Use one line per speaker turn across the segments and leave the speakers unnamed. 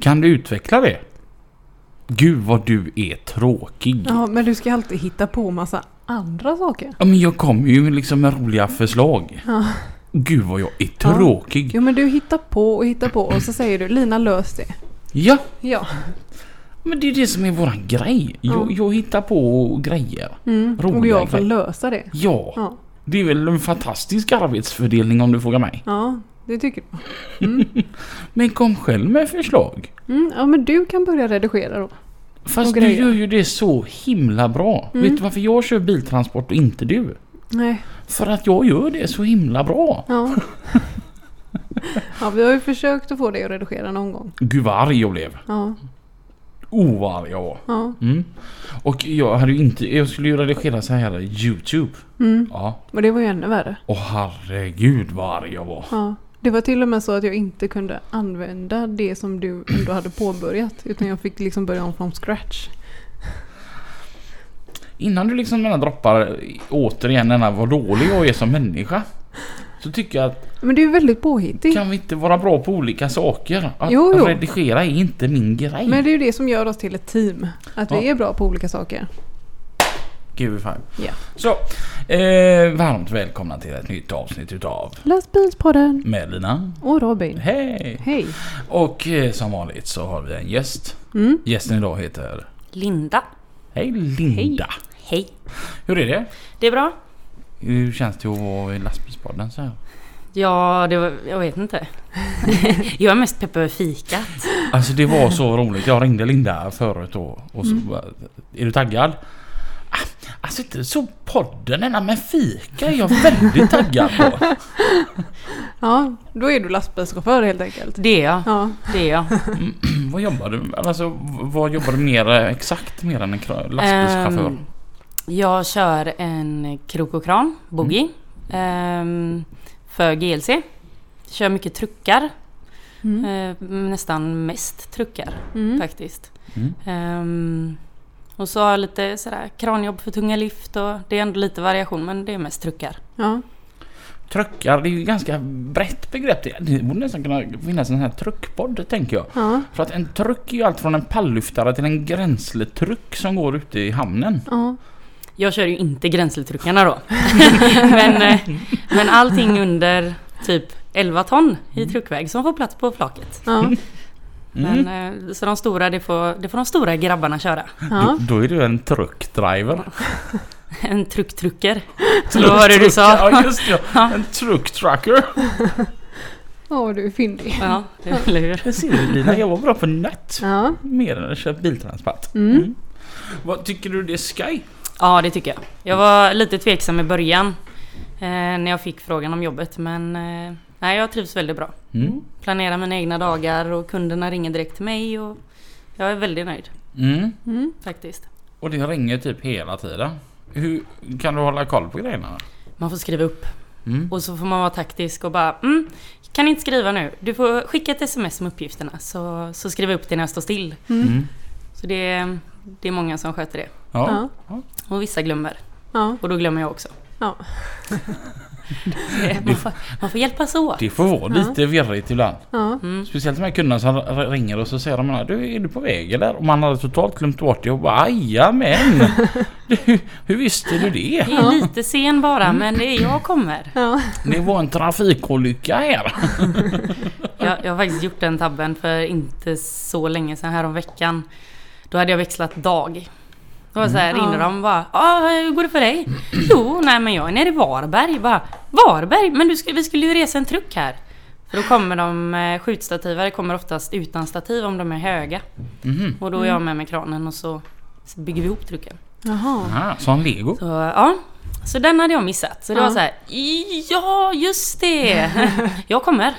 Kan du utveckla det? Gud vad du är tråkig.
Ja, men du ska alltid hitta på massa andra saker.
Ja, men jag kommer ju liksom med roliga förslag.
Ja.
Gud vad jag är
Ja.
tråkig.
Jo, men du hittar på och hittar på och så säger du Lina lös det.
Ja,
Ja.
men det är det som är våran grej. Jag, jag hittar på grejer.
Mm. Och
Roliga
jag får
grejer.
lösa det.
Ja,
Ja.
det är väl en fantastisk arbetsfördelning om du frågar mig.
Ja, det tycker du.
Men kom själv med förslag.
Mm, ja, men du kan börja redigera då.
Fast
Och
du
grejer. Mm.
gör ju det så himla bra. Vet du varför jag kör biltransport och inte du?
Nej.
För att jag gör det så himla bra.
Ja. ja, vi har ju försökt att få dig att redigera någon gång.
Gud vad arg jag blev.
Ja.
Oh vad arg jag var.
Ja.
Mm. Och jag hade ju inte, jag skulle ju redigera så här Youtube.
Mm.
Ja.
Och det var ju ännu värre.
Och herregud vad arg jag var.
Ja. Det var till och med så att jag inte kunde använda det som du ändå hade påbörjat. Utan jag fick liksom börja om från scratch.
Innan du liksom menar droppar återigen denna vad dålig jag är som människa. Så tycker jag att
Men du är väldigt påhittig.
kan vi inte vara bra på olika saker? Att
Jo, jo.
redigera är inte min grej.
Men det är ju det som gör oss till ett team. Att vi
Ja.
är bra på olika saker.
Give five.
Ja.
Så, eh, varmt välkomna till ett nytt avsnitt utav
Lastbilspodden
med Lina.
och Robin.
Hej!
Hej.
Och eh, som vanligt så har vi en gäst.
Mm.
Gästen idag heter...
Linda.
Hej Linda!
Hej.
Hur är det?
Det är bra?
Hur känns det att vara i lastbilspodden så här?
Ja, det var, jag vet inte. jag är mest pepp över fikat.
Alltså det var så roligt. Jag ringde Linda förut då och så bara, Är du taggad? Ah, Alltså inte så podden denna men fika är jag väldigt taggad på.
Ja, då är du lastbilschaufför helt enkelt.
Det är jag.
Ja.
Det är jag.
Mm, vad jobbar du med? Alltså v- vad jobbar du mer eh, exakt mer än en kra- lastbilschaufför?
Ehm, jag kör en krok och kran, boogie, ehm, för GLC. Kör mycket truckar.
Mm.
Ehm, nästan mest truckar
Mm.
faktiskt.
Mm.
Ehm, och så har jag lite sådär kranjobb för tunga lyft och det är ändå lite variation men det är mest truckar.
Ja.
Truckar, det är ju ganska brett begrepp. Det- Det borde nästan kunna finnas en sån här truckpodd tänker jag.
Ja.
För att en truck är ju allt från en palllyftare till en gränsletruck som går ute i hamnen.
Ja.
Jag kör ju inte gränseltryckarna då. men, eh, men allting under typ 11 ton i truckväg som får plats på flaket.
Ja.
Mm.
Men, eh, så de stora, det får, det får de stora grabbarna köra.
Ja.
Då, då är du en truckdriver.
En trucktrucker. Så då var det du sa.
Ja just det, ja. en trucktrucker.
Åh, du är fyndig.
Ja, eller hur?
Jag ser du Lina, jag var bra på nött.
Ja.
Mer än att köra biltransport.
Mm.
Vad tycker du det är sky?
Ja, det tycker jag. Jag var lite tveksam i början eh, när jag fick frågan om jobbet, men eh, nej, jag trivs väldigt bra.
Mm.
Planerar mina egna dagar och kunderna ringer direkt till mig och jag är väldigt nöjd
Mm.
Mm.
faktiskt.
Och det ringer typ hela tiden. Hur kan du hålla koll på grejerna?
Man får skriva upp
Mm.
Och så får man vara taktisk och bara mm, kan inte skriva nu. Du får skicka ett sms med uppgifterna så, så skriver jag upp det när jag står still.
Mm.
Så det, är- det är många som sköter det.
Ja.
Ja.
Och vissa glömmer.
Ja.
Och då glömmer jag också.
Ja.
Det- Man får, man får hjälpas åt.
Det får vara lite virrigt ibland.
Ja.
Mm.
Speciellt de här kunderna som r- ringer och så säger de här, du är du på väg eller? Och man hade totalt glömt bort det och bara men du, Hur visste du det?
Det är lite sen bara men det är jag kommer.
Ja.
Det var en trafikolycka här.
Jag, jag har faktiskt gjort den tabben för inte så länge sedan, här om veckan. Då hade jag växlat dag. Då var så här, ringde de och bara ah, “Hur går det för dig?” “Jo, nej men jag är nere i Varberg”. Bara, “Varberg? Men du, sk- vi skulle ju resa en truck här”. För då kommer de, eh, skjutstativare kommer oftast utan stativ om de är höga.
Mhm.
Och då är jag med med kranen och så bygger vi ihop trucken.
Jaha.
Aha, som lego.
Så ja, Så den hade jag missat. Så det
Ja.
var så här, ja just det! Jag kommer.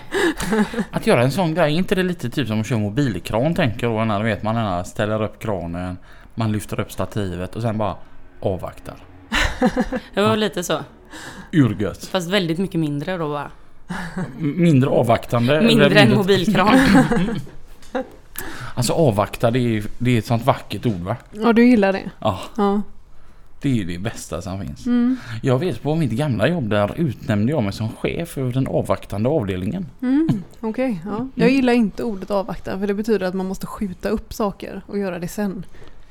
Att göra en sån grej, är inte det lite typ som att köra mobilkran tänker jag då? När du vet man den här ställer upp kranen, man lyfter upp stativet och sen bara avvaktar.
Det var lite så.
Urgött.
Fast väldigt mycket mindre då
Eh,
bara.
M- Mindre avvaktande. eller
Mindre än
mindre-
mobilkran.
Alltså avvakta, det är, det är ett sånt vackert ord va?
Ja, du gillar det.
Ja,
Ja.
det är ju det bästa som finns.
Mm.
Jag vet på mitt gamla jobb där utnämnde jag mig som chef över den avvaktande avdelningen.
Mm. Okej. ja. Jag gillar inte ordet avvakta för det betyder att man måste skjuta upp saker och göra det sen.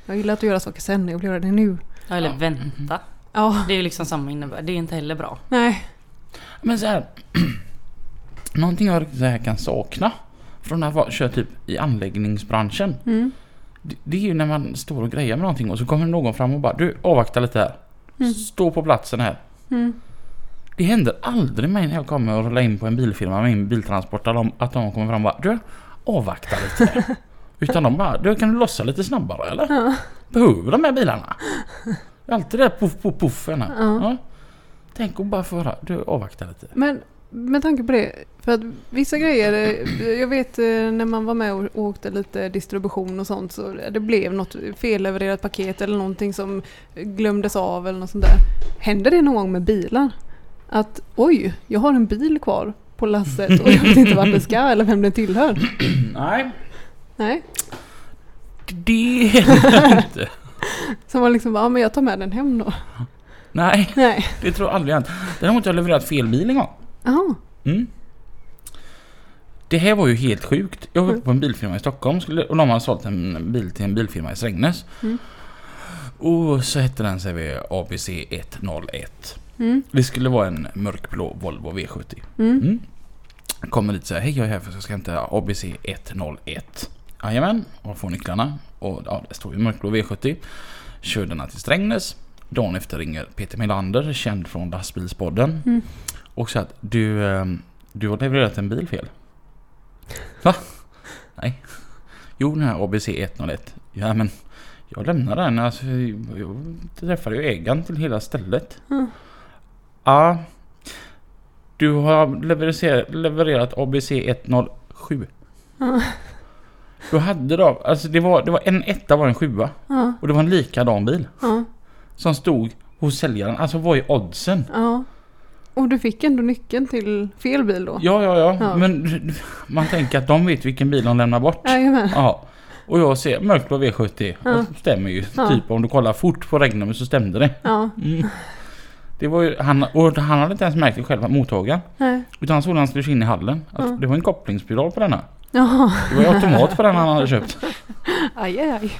Jag gillar att göra saker sen, jag vill göra det nu.
Ja, Eller vänta.
Ja,
Det är ju liksom samma innebörd. Det är inte heller bra.
nej.
Men så här, Någonting jag riktigt så här kan sakna från när jag kör typ i anläggningsbranschen.
Mm.
Det, det är ju när man står och grejer med någonting och så kommer någon fram och bara du avvakta lite här.
Mm.
Stå på platsen här.
Mm.
Det händer aldrig mig när jag kommer och rullar in på en bilfirma med min biltransport att de, att de kommer fram och bara du avvakta lite. här." Utan de bara du kan du lossa lite snabbare eller?
Ja.
Behöver de här bilarna? Det är alltid det där poff poff poff. ena.
Ja.
Ja. Tänk och bara få höra du avvakta lite.
Men med tanke på det, för att vissa grejer, eh, jag vet eh, när man var med och åkte lite distribution och sånt så det blev något fellevererat paket eller någonting som glömdes av eller något sånt där. Händer det någon gång med bilar? Att oj, jag har en bil kvar på lasset och jag vet inte vart den ska eller vem den tillhör.
Nej,
Nej,
det händer inte.
så man liksom bara, ja men jag tar med den hem då.
Nej,
Nej,
det tror jag aldrig hänt. Däremot har jag levererat fel bil en gång.
jaha,
Mm. Det här var ju helt sjukt. Jag var uppe på en bilfirma i Stockholm skulle- och de hade sålt en bil till en bilfirma i Strängnäs.
Mm.
Och så hette den CV ABC 101.
mm,
Det skulle vara en mörkblå Volvo V70.
mm,
Mm. Kommer dit och säger hej jag är här för att jag ska hämta ABC 101. Jajamän, och får nycklarna. Och ja, det står ju mörkblå V70. Kör denna till Strängnäs. Dagen efter ringer Peter Melander, känd från Lastbilspodden.
Mm.
Och säger att du, ehm, du har levererat en bil fel. Va? Nej. Jo, den här ABC 101. Ja men, jag lämnar den. Alltså, jag träffade ju ägaren till hela stället.
Mm.
Ja, du har levererat, levererat ABC 107.
Ja.
Du hade då, alltså det var, det var en etta var en sjua
ja,
och det var en likadan bil
ja,
som stod hos säljaren. Alltså vad är oddsen?
ja. Och du fick ändå nyckeln till fel bil då?
Ja, ja, ja,
Ja.
men man tänker att de vet vilken bil de lämnar bort.
Jajamän.
Ja. Och jag ser mörkblå V70
Ja.
och stämmer ju.
Ja.
Typ om du kollar fort på regnumret så stämde det.
Ja,
Mm. Det var ju, han, och han hade inte ens märkt det själv, mottagaren.
nej.
Utan han såg när han skulle in i hallen att
Ja.
det var en kopplingspiral på denna.
Jaha.
Det var ju automat på den han hade köpt.
Aj, aj, aj.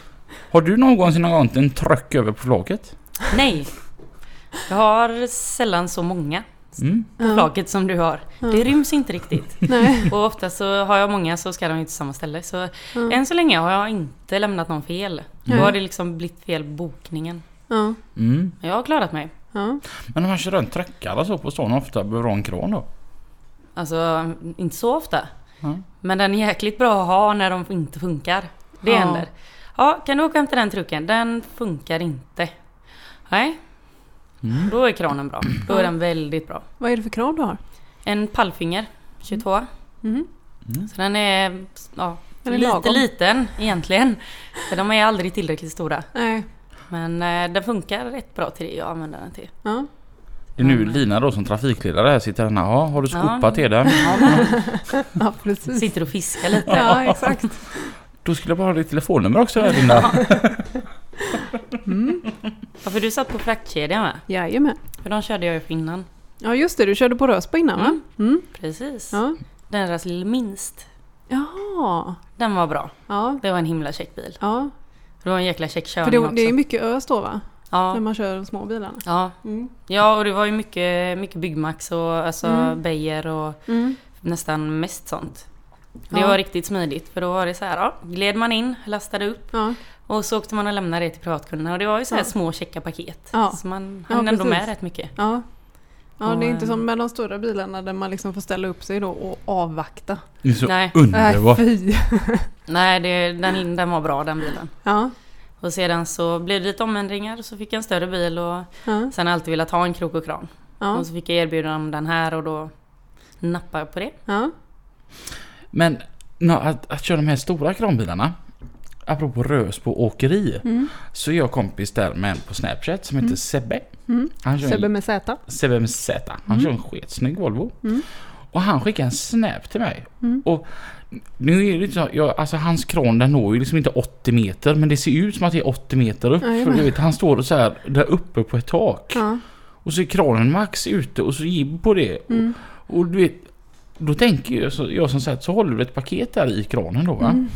Har du någonsin någon en tröck över på flaket?
Nej. Jag har sällan så många
Mm.
på flaket som du har. Det ryms inte riktigt.
Nej.
Och ofta så har jag många så ska de inte till samma ställe. Så
Ja.
än så länge har jag inte lämnat någon fel. Då
Nej.
har det liksom blivit fel bokningen.
Ja.
Mm.
Men jag har klarat mig.
Ja.
Men om man kör runt tröckar och så på stan ofta behöver ha en kran då?
Alltså, inte så ofta.
Mm.
Men den är jäkligt bra att ha när de inte funkar. Det
Ja.
händer. Ja, kan du åka och hämta den trucken? Den funkar inte. Nej.
Mm.
Då är kranen bra. Då är den väldigt bra.
Vad är det för krav du har?
En pallfinger 22.
Mhm.
Så den är ja,
Den är
lite
lagom.
liten egentligen. För de är aldrig tillräckligt stora.
Nej.
Men eh, den funkar rätt bra till det jag använder den till.
Ja.
Det är nu Lina då som trafikledare här sitter henne. Ja, har du skopat till den?
ja, precis.
Sitter och fiskar lite.
Ja, exakt.
Då skulle jag bara ha ditt telefonnummer också där Linda.
Ja, för du satt på fraktkedjan va?
Jajamän.
För de körde jag ju för innan.
Ja, just det. Du körde på Röspa innan, va? Mm.
Precis.
Ja.
Deras minst.
Jaha.
Den var bra.
Ja.
Det var en himla check bil.
Ja.
Det var en jäkla check
För
körning
det, det är ju
också.
mycket ös då, va? När
Ja,
man kör småbilarna.
ja.
Mm.
ja, och det var ju mycket, mycket Byggmax och alltså
Mm.
Beijer och nästan mest sånt. Det
Ja.
var riktigt smidigt för då var det så här, ja, gled man in, lastade upp
Ja.
och så åkte man och lämnade det till privatkunderna och det var ju så här
Ja.
små checka paket.
Ja.
Så man
Ja,
hann ändå
precis.
med rätt mycket.
Ja. Ja,
Och,
det är inte
eh,
som med de stora bilarna där man liksom får ställa upp sig då och avvakta.
Mm, Det är så
Nej.
underbart.
fy.
Nej, det, den, den var bra den bilen.
Ja.
Och Och sedan så blev det lite omändringar så fick jag en större bil och
Ja.
sen har jag alltid velat ha en krok och kran.
Ja.
Och så fick jag erbjudande om den här och då nappade jag på det.
Ja.
Men nå, att, att köra de här stora kranbilarna. Apropå Rösbo åkeri.
Mm.
Så är jag kompis där med en på Snapchat som heter Sebbe. Han kör
Mm. Sebbe
en,
med Z.
Sebbe med Z.
Mm.
Han kör en sketsnygg Volvo. Och han skickade en Snap till mig.
Mm.
Och nu är det inte så, jag, alltså hans kran den når ju liksom inte 80 meter men det ser ut som att det är 80 meter upp.
Jajamän.
För du vet, han står så här där uppe på ett tak.
Ja.
Och så är kranen max ute och så jib på det.
Mm.
Och, och du vet, då tänker jag, så, jag som sagt, så håller du ett paket där i kranen då va.
Mm.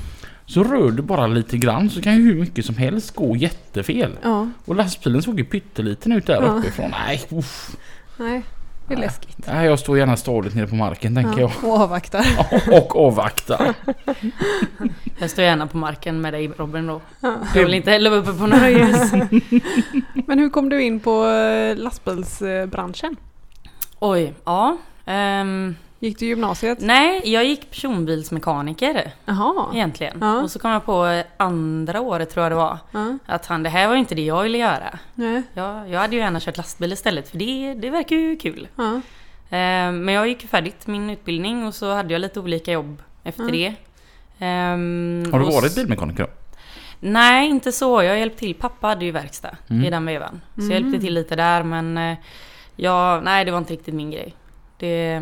Så rör du bara lite grann så kan ju hur mycket som helst gå jättefel.
ja.
Och lastbilen såg ju pytteliten ut där
Ja.
uppifrån. Nej, uff.
Nej, det är
Nej.
läskigt.
Nej, jag står gärna stadigt nere på marken tänker
Ja. Och avvaktar.
jag. Och avvaktar.
Jag står gärna på marken med dig Robin då.
Ja.
Jag vill inte heller vara uppe på några ljus.
Men hur kom du in på eh, lastbilsbranschen?
Oj, ja. Ehm,
Gick du gymnasiet?
nej, jag gick personbilsmekaniker
Jaha.
egentligen.
Ja.
Och så kom jag på andra året tror jag det var.
Ja.
Att han, det här var ju inte det jag ville göra.
Nej.
Jag, jag hade ju gärna kört lastbil istället för det, det verkar ju kul.
Ja.
Ehm, Men jag gick ju färdigt min utbildning och så hade jag lite olika jobb efter
Mm.
det. Ehm,
Har du
och
varit
s-
bilmekaniker då?
Nej, inte så. Jag hjälpte till. Pappa hade ju verkstad
Mm.
i den vevan. Så jag
Mm.
hjälpte till lite där men eh, jag, nej det var inte riktigt min grej. Det,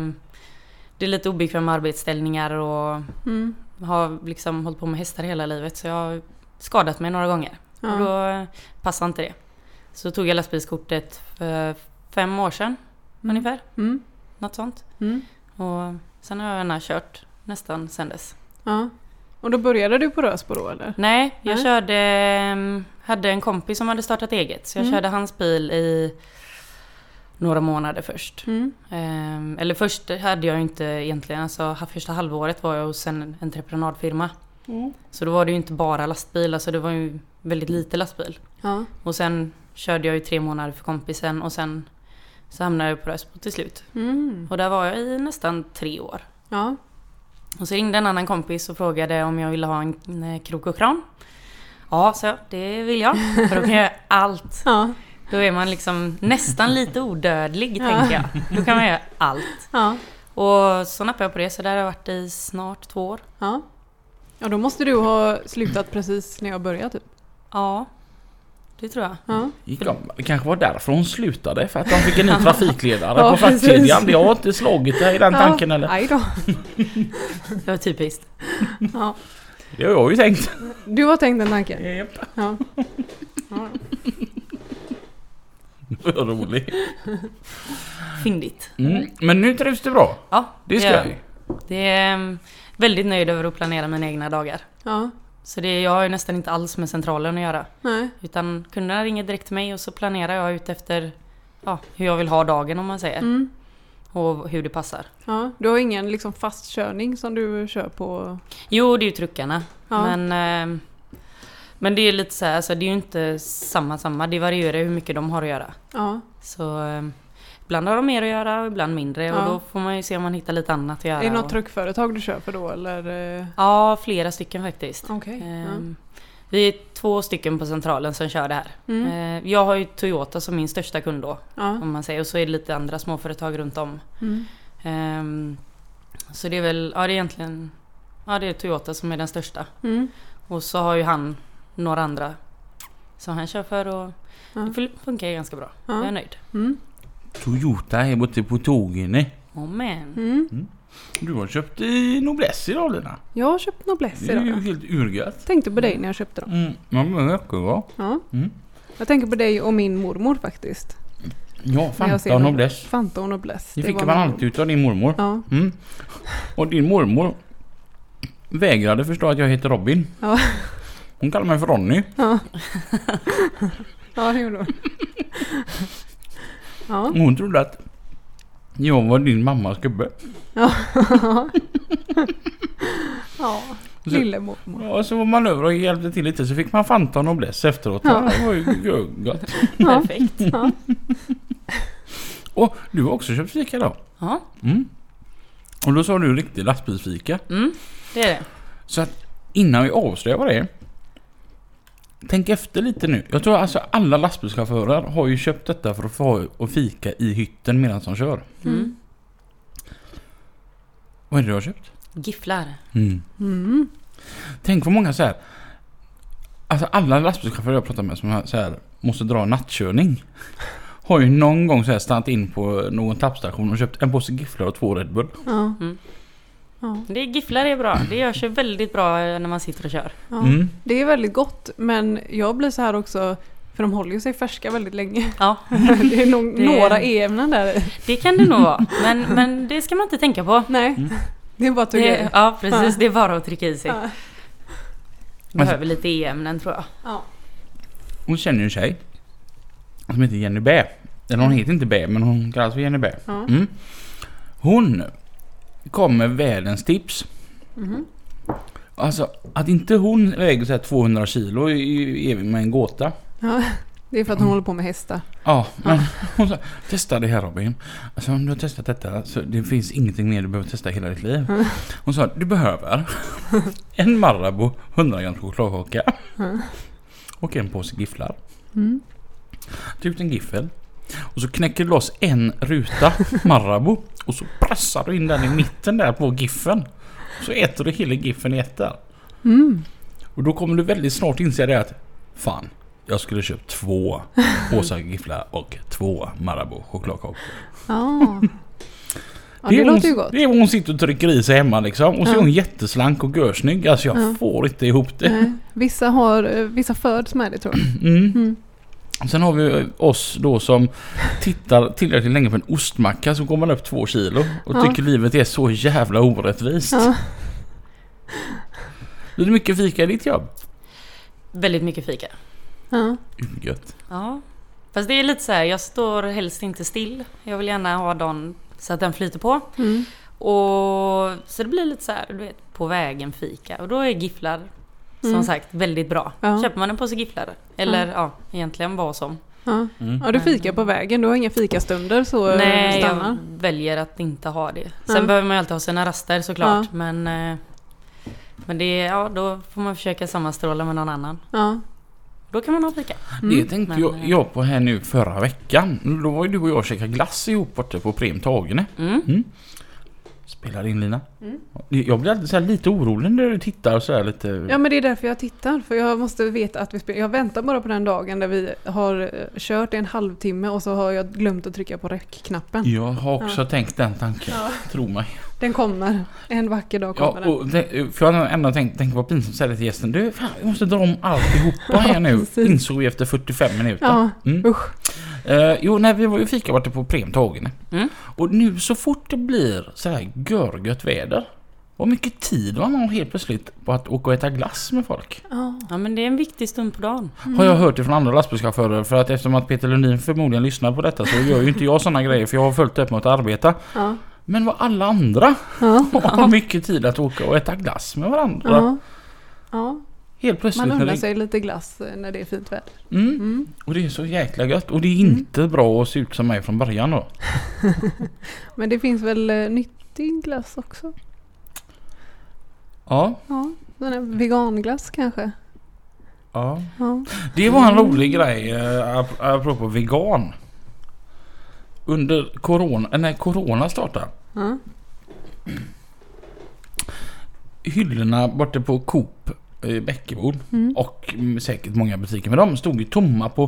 det är lite obekväma arbetsställningar och
Mm.
har liksom hållit på med hästar hela livet så jag har skadat mig några gånger.
Ja.
Och då eh, passade inte det. Så tog jag lastbilskortet för fem år sedan ungefär.
Mm.
Något sånt.
Mm.
Och sen har jag gärna kört nästan sen dess.
Ja. Och då började du på Rösbo då eller?
Nej, jag
Nej.
körde... ehm, Hade en kompis som hade startat eget så jag
Mm.
körde hans bil i några månader först.
Mm.
Ehm, Eller först hade jag ju inte egentligen, alltså ha- första halvåret var jag hos en entreprenadfirma.
Mm.
Så då var det ju inte bara lastbil, alltså det var ju väldigt lite lastbil.
Ja.
Och sen körde jag ju tre månader för kompisen och sen så hamnade jag på Rösbo till slut.
Mm.
Och där var jag i nästan tre år.
Ja.
Och så ringde en annan kompis och frågade om jag ville ha en, en krok och kran. Ja, så det vill jag. För då kan jag göra allt.
Ja.
Då är man liksom nästan lite odödlig, tänker jag. Då kan man göra allt.
Ja.
Och så nappade jag på det, så där har jag varit i snart två år.
Ja. Ja, då måste du ha slutat precis när jag började typ.
Ja, det tror jag.
Ja.
Gick om- Det kanske var därför hon slutade, för att de fick en ny trafikledare
Ja,
på
precis.
fraktkedjan. Jag har inte slagit dig i den tanken
ja.
eller?
Aj då.
Det var typiskt.
Ja.
Det har jag ju tänkt.
Du har tänkt den tanken?
Japp.
Ja. ja.
Vad rolig.
Fyndigt.
Mm. Men nu trivs du bra.
Ja,
Det ska
gör
jag.
jag. Det är mm, väldigt nöjd över att planera mina egna dagar.
Ja.
Så det, jag har ju nästan inte alls med centralen att göra.
Nej.
Utan kunderna ringer direkt till mig och så planerar jag ut efter ja, hur jag vill ha dagen om man säger.
Mm.
Och hur det passar.
Ja. Du har ingen liksom fast körning som du kör på?
Jo, det är ju truckarna.
Ja.
Men, ehm, men det är lite så här, alltså, det är ju inte samma samma. Det varierar hur mycket de har att göra.
Ja.
Så ehm, ibland har de mer att göra och ibland mindre.
Ja.
Och då får man ju se om man hittar lite annat att göra.
Är det något
och-
truckföretag du kör för då eller? eh?
Ja, flera stycken faktiskt.
Okej. Ja.
Ehm, Vi är två stycken på centralen som kör det här.
Mm.
Ehm, Jag har ju Toyota som min största kund då.
Ja.
Om man säger. Och så är det lite andra småföretag runt om.
Mm.
Ehm, så det är väl, ja det är egentligen, ja det är Toyota som är den största.
Mm.
Och så har ju han några andra som han kör för och
Ja.
det fun- funkar ju ganska bra.
Ja.
Jag är nöjd.
Mm.
Toyota är borta på tågen. eh.
Oh man.
Mm.
Du har köpt i Noblesse idag Lina.
Jag har köpt Noblesse
Det är
idag.
ju
ja.
helt urgött.
Tänkte på dig när jag köpte dem.
Mm. Ja, men det är bra.
Ja.
Mm.
Jag tänker på dig och min mormor faktiskt.
Ja,
När jag ser
Fanta och
dem.
Noblesse.
Fanta och Noblesse.
Det fick
var
man
min-
alltid utav din mormor.
Ja.
Mm. Och din mormor vägrade förstå att jag heter Robin.
Ja.
Hon kallar mig för Ronny.
Ja. ja, det gjorde hon. Ja.
Hon trodde att jag var din mammas gubbe.
Ja. ja. Lillemormor.
Ja, så var man över och hjälpte till lite så fick man Fanta och Noblesse efteråt.
Ja.
Det var ju gött.
Ja.
Perfekt.
Ja.
Och du har också köpt fika då?
Ja,
Mm. Och då sa du riktig lastbilsfika.
mm, det är det.
Så att innan vi avslöjar vad det är Tänk efter lite nu. Jag tror alltså alla lastbilschaufförer har ju köpt detta för att få ha och fika i hytten medan de kör.
Mm.
Vad är det du har köpt?
Gifflar.
Mm.
Mm.
Tänk vad många så här. Alltså alla lastbilschaufförer jag pratar med som har- så här, måste dra nattkörning. Har ju någon gång så här stannat in på någon tappstation och köpt en påse gifflar och två Red Bull.
Ja.
Mm.
Ja.
Det gifflar är bra. Det gör sig väldigt bra eh, när man sitter och kör.
Ja.
Mm.
Det är väldigt gott men jag blir så här också för de håller ju sig färska väldigt länge.
Ja,
Det är nog
Det-
några e-ämnen där i.
det kan det nog vara. Men, men det ska man inte tänka på.
Nej,
Mm.
det är bara att tugga i.
Det, ja, precis. Det är bara att trycka i sig.
Ja.
Behöver lite e-ämnen tror jag.
Ja.
Hon känner ju en tjej. Som heter Jenny Bä. Eller hon heter inte Bä men hon kallas för Jenny Bä.
Mm. Ja.
Mm. Hon kom med världens tips.
Mhm.
Alltså att inte hon väger så här 200 kilo är ju är med en gåta.
ja. Det är för att hon
Mm.
håller på med hästar.
Ja, men hon sa testa det här Robin. Alltså om du har testat detta så det finns ingenting mer du behöver testa i hela ditt liv. Hon sa du behöver en Marabou 100 gram chokladkaka
Mm.
och en påse gifflar.
Mm.
Ta ut en giffel och så knäcker du loss en ruta Marabou och så pressar du in den i mitten där på giffen. Så äter du hela giffen i ett där.
Mm.
Och då kommer du väldigt snart inse det att Fan, jag skulle köpt två påsar gifflar och två Marabou chokladkakor.
Ja. ja,
är
det
hon-
låter ju gott.
Det är hon sitter och trycker i sig hemma liksom. Och så är
Ja.
hon jätteslank och görsnygg. Alltså jag
Ja.
får inte ihop det.
Nej. Vissa, har, eh, vissa föds med det tror jag.
Mm.
Mm.
Sen har vi eh, oss då som tittar tillräckligt länge på en ostmacka så går man upp två kilo och
Ja.
tycker livet är så jävla orättvist.
Ja.
Blir det mycket fika i ditt jobb?
Väldigt mycket fika.
Ja.
Mm, Gött.
Ja. Fast det är lite så här, jag står helst inte still. Jag vill gärna ha dagen så att den flyter på.
Mm.
Och så det blir lite så här, du vet, på vägen fika. Och då är gifflar som
Mm.
sagt väldigt bra.
Ja.
Köper man en påse gifflar, eller
Mm.
ja, egentligen vad som.
Ja.
Mm.
ja, du fikar på vägen. Du har inga fikastunder så eh,
Nej, jag
stannar.
väljer att inte ha det. Sen
Ja.
behöver man ju alltid ha sina raster såklart.
Ja.
Men, eh, men det, ja, då får man försöka sammanstråla med någon annan.
Ja.
Då kan man ha fika.
det
Mm.
tänkte
Men,
jag,
eh,
jag på här nu förra veckan. Då var ju du och jag och käkade glass ihop borta på Prem Tagene.
Mm.
Spelar in Lina.
Mm.
Jag blir alltid så här lite orolig när du tittar så här lite.
Mm. Ja men det är därför jag tittar, för jag måste veta att vi spelar. Jag väntar bara på den dagen där vi har eh, kört i en halvtimme och så har jag glömt att trycka på räckknappen.
Jag har också tänkt den tanken. Tro mig.
Den kommer. En vacker dag
Ja,
kommer den.
och det, för jag har ändå tänkt, tänkt vad pinsamt att säga det till gästen. Du, fan, vi måste dra om alltihopa här nu.
precis.
Insåg vi efter 45 minuter.
Ja,
Mm.
usch.
Eh, jo, nej, vi var ju fika borta på Premtagen.
Mm.
Och nu så fort det blir så här görgött väder. Vad mycket tid man har helt plötsligt på att åka och äta glass med folk.
Ja. Mm.
Ja men det är en viktig stund på dagen.
Har jag hört det från andra lastbilschaufförer. För att eftersom att Peter Lundin förmodligen lyssnar på detta så gör ju inte jag sådana grejer. För jag har följt upp med att arbeta.
Ja.
Men vad alla andra
Ja.
har mycket tid att åka och äta glass med varandra.
Ja. ja.
Helt plötsligt.
Man
när
undrar
det-
sig lite glass eh, när det är fint väder.
Mm.
Mm.
Och det är så jäkla gött. Och det är inte bra att se ut som mig från början då.
Men det finns väl eh, nyttig glass också?
Ja.
Ja, den här veganglass kanske?
ja.
Ja.
Det var en
Mm.
rolig grej eh, ap- apropå vegan. Under corona, när corona startade.
Ja.
Hyllorna borta på Coop i Bäckebod
Mm.
och mm, säkert många butiker med dem stod ju tomma på,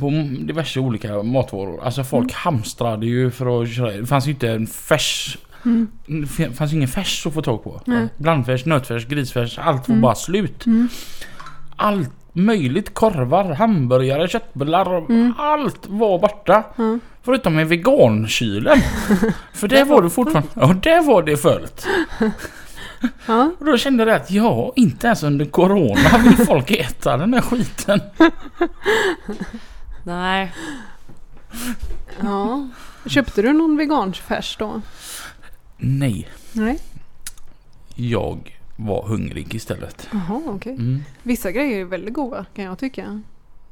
på diverse olika matvaror. Alltså
Mm.
folk hamstrade ju för att köra. Det fanns ju inte en färs
Mm.
Det fanns ingen färs att få tag på.
Nej.
Blandfärs, nötfärs, grisfärs. Allt var
Mm.
bara slut.
Mm.
Allt möjligt. Korvar, hamburgare, köttbullar.
Mm.
Allt var borta.
Ja.
Förutom i vegankylen. För där var det fortfarande... Ja, där var det fullt.
Ja.
Och då kände jag att ja, inte ens under corona vill folk äta den här skiten.
Nej,
ja. Köpte du någon veganfärs då?
Nej,
Nej.
jag var hungrig istället.
Jaha, okej.
Mm.
Vissa grejer är väldigt goda kan jag tycka.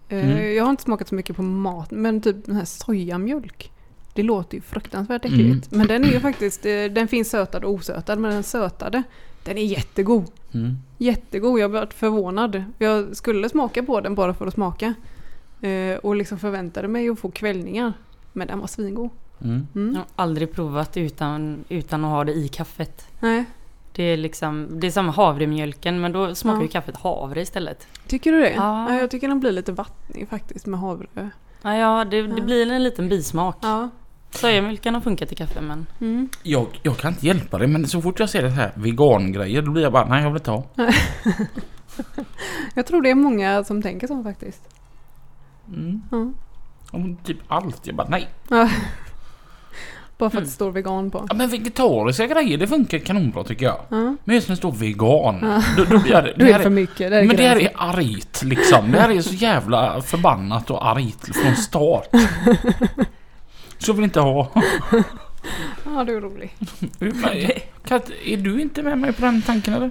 Eh,
Mm.
Jag har inte smakat så mycket på mat, men typ den här sojamjölk. Det låter ju fruktansvärt
Mm.
äckligt. Men den är ju faktiskt, eh, den finns sötad och osötad, men den sötade, den är jättegod.
Mm.
Jättegod, jag blev förvånad. Jag skulle smaka på den bara för att smaka. Eh, och liksom förväntade mig att få kvällningar. Men den var svingod.
Mm.
Mm.
Jag har aldrig provat utan, utan att ha det i kaffet.
Nej.
Det är liksom, det är som havremjölken men då smakar
Ja.
ju kaffet havre istället.
Tycker du det?
Ja.
Ja, jag tycker den blir lite vattnig faktiskt med havre.
Ja, ja det, det
Ja.
blir en liten bismak.
Ja.
Sojamjölken har funkat i kaffe men...
Mm.
Jag, jag kan inte hjälpa det men så fort jag ser det här vegangrejer då blir jag bara nej jag vill inte ha.
Jag tror det är många som tänker så faktiskt.
Mm.
Ja.
Om Typ allt. Jag bara nej.
Bara för att
Mm.
det står vegan på.
Ja, men vegetariska grejer det funkar kanonbra tycker jag.
Ja.
Men just när det står vegan.
Ja.
Då, då blir jag, det
Du
här
är för mycket. Det är
Men det här
gränsen.
är argt liksom. Det här är så jävla förbannat och argt från start. Så vill inte ha.
Ja, du är Mm. rolig.
Kat, är du inte med mig på den tanken eller?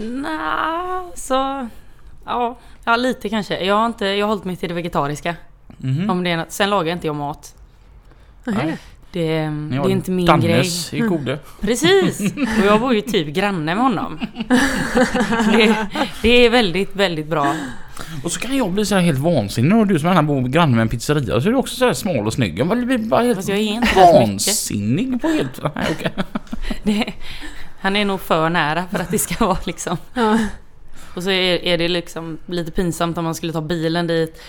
Nja, så... Ja, ja, lite kanske. Jag har, inte, jag har hållit mig till det vegetariska.
Mhm.
Om det är något. Sen lagar jag inte jag mat.
Nej.
Det,
Ni
det
har
är inte min grej.
Dannes i Kode.
Precis! Och jag bor ju typ granne med honom. Det, det är väldigt, väldigt bra.
Och så kan jag bli så här helt vansinnig och du som gärna bor granne med en pizzeria så är du också så här smal och snygg. Jag bara blir bara helt
Fast jag är inte så mycket.
vansinnig på helt... Nej, okej.
Det, han är nog för nära för att det ska vara liksom.
Ja.
Och så är, är det liksom lite pinsamt om man skulle ta bilen dit.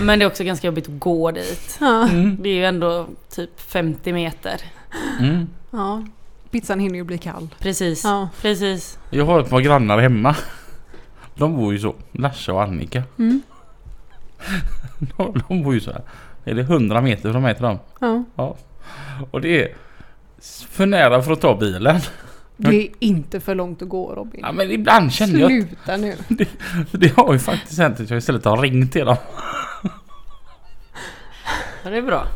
Men det är också ganska jobbigt att gå dit.
Ja.
Mm.
Det är ju ändå typ 50 meter.
Mm.
ja. Pizzan hinner ju bli kall.
Precis.
Ja.
Precis.
Jag har ett par grannar hemma. De bor ju så. Larsa och Annika.
Mm.
De, de bor ju så här. Är det 100 meter från mig till dem?
Ja.
Och det är för nära för att ta bilen.
Det är inte för långt att gå Robin.
Ja, men ibland känner jag att
Sluta nu.
det har ju faktiskt hänt att jag istället har ringt till dem
Ja, det är bra.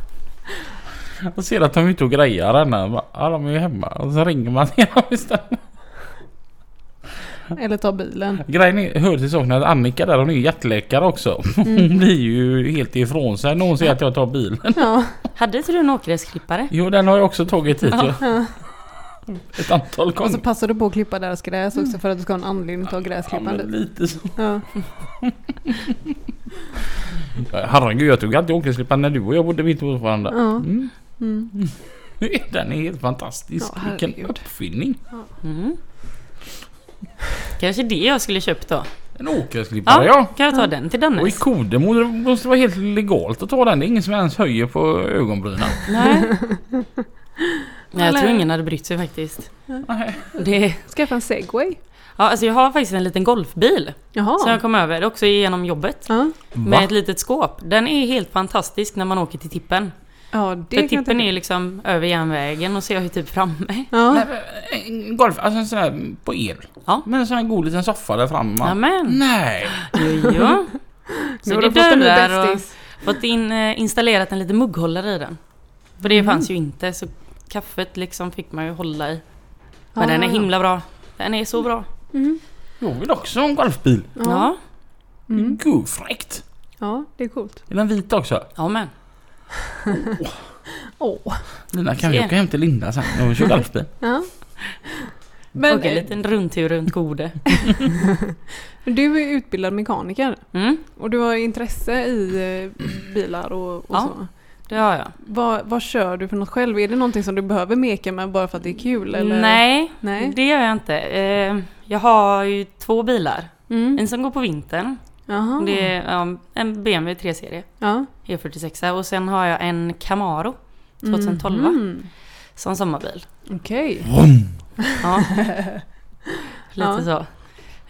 och ser att de är ute och grejar ännu. Jag bara, Ja, de är ju hemma. Och så ringer man till dem istället.
Eller ta bilen.
Grejen är, hör till saken att Annika där hon är ju hjärtläkare också. Hon
Mm.
blir ju helt ifrån sig när hon ser att jag tar bilen.
Ja.
Hade inte du en åkgräsklippare?
Jo den har jag också tagit hit ju.
ja.
Ett antal
Och
gånger.
så passar du på att klippa deras gräs också för att du ska ha en anledning att ta gräsklipparen
Mm. Ja, men
dit.
lite så.
Ja.
Herregud jag tog alltid åkgräsklipparen när du och jag bodde mitt emot varandra.
Ja.
Mm.
Mm.
Den är helt fantastisk.
Ja,
Vilken
herregud.
uppfinning.
Mm. Kanske det jag skulle köpt då.
En åkgräsklippare ja.
Kan jag ta den till Dannes?
Och i Kodemo det måste det vara helt legalt att ta den. Det är ingen som ens höjer på ögonbrynen.
Nej. Nej, jag
Eller-
tror ingen hade brytt sig faktiskt.
Nej.
Det,
Skaffa en segway.
ja, alltså jag har faktiskt en liten golfbil
Jaha.
som jag kom över också genom jobbet.
ja.
Va?
Med ett litet skåp. Den är helt fantastisk när man åker till tippen.
ja, det
För
kan jag
tippen
tänka-
är liksom över järnvägen och så är jag ju typ framme.
Ja.
Nej, en golf, alltså en sån här på el.
Ja.
Med en sån här god liten soffa där framme. va?
Jajamän.
Nej.
Jo, jo. Så
Nu har
det
du fått en ny
är dörrar och
bästis.
fått in, eh, installerat en liten mugghållare i den. För
Mm.
det fanns ju inte så kaffet liksom fick man ju hålla i. Men
Ja,
den är
ja.
himla bra. Den är så bra.
Mm.
Jag vill också ha en golfbil.
Ja.
Ja,
Mm.
Gud fräckt.
ja, det är coolt.
Är den vit också?
ja men.
Åh.
Lina kan vi
Se.
åka hem till Linda sen när vi kör golfbil?
Ja.
Okej,
Men eh,
en liten rundtur runt Gode.
du är utbildad mekaniker
Mm,
och du har intresse i eh, bilar och, och
Ja.
så.
det har jag.
Vad, vad kör du för något själv? Är det någonting som du behöver meka med bara för att det är kul? Eller?
Nej,
Nej.
det gör jag inte. Eh, Jag har ju två bilar.
Mm. Ah.
En som går på vintern.
Jaha.
Det är ja, en BMW 3-serie.
Ja.
E46 och sen har jag en Camaro 2012 va?
Mhm.
som sommarbil.
Okej.
Ja. Lite
Ja.
så.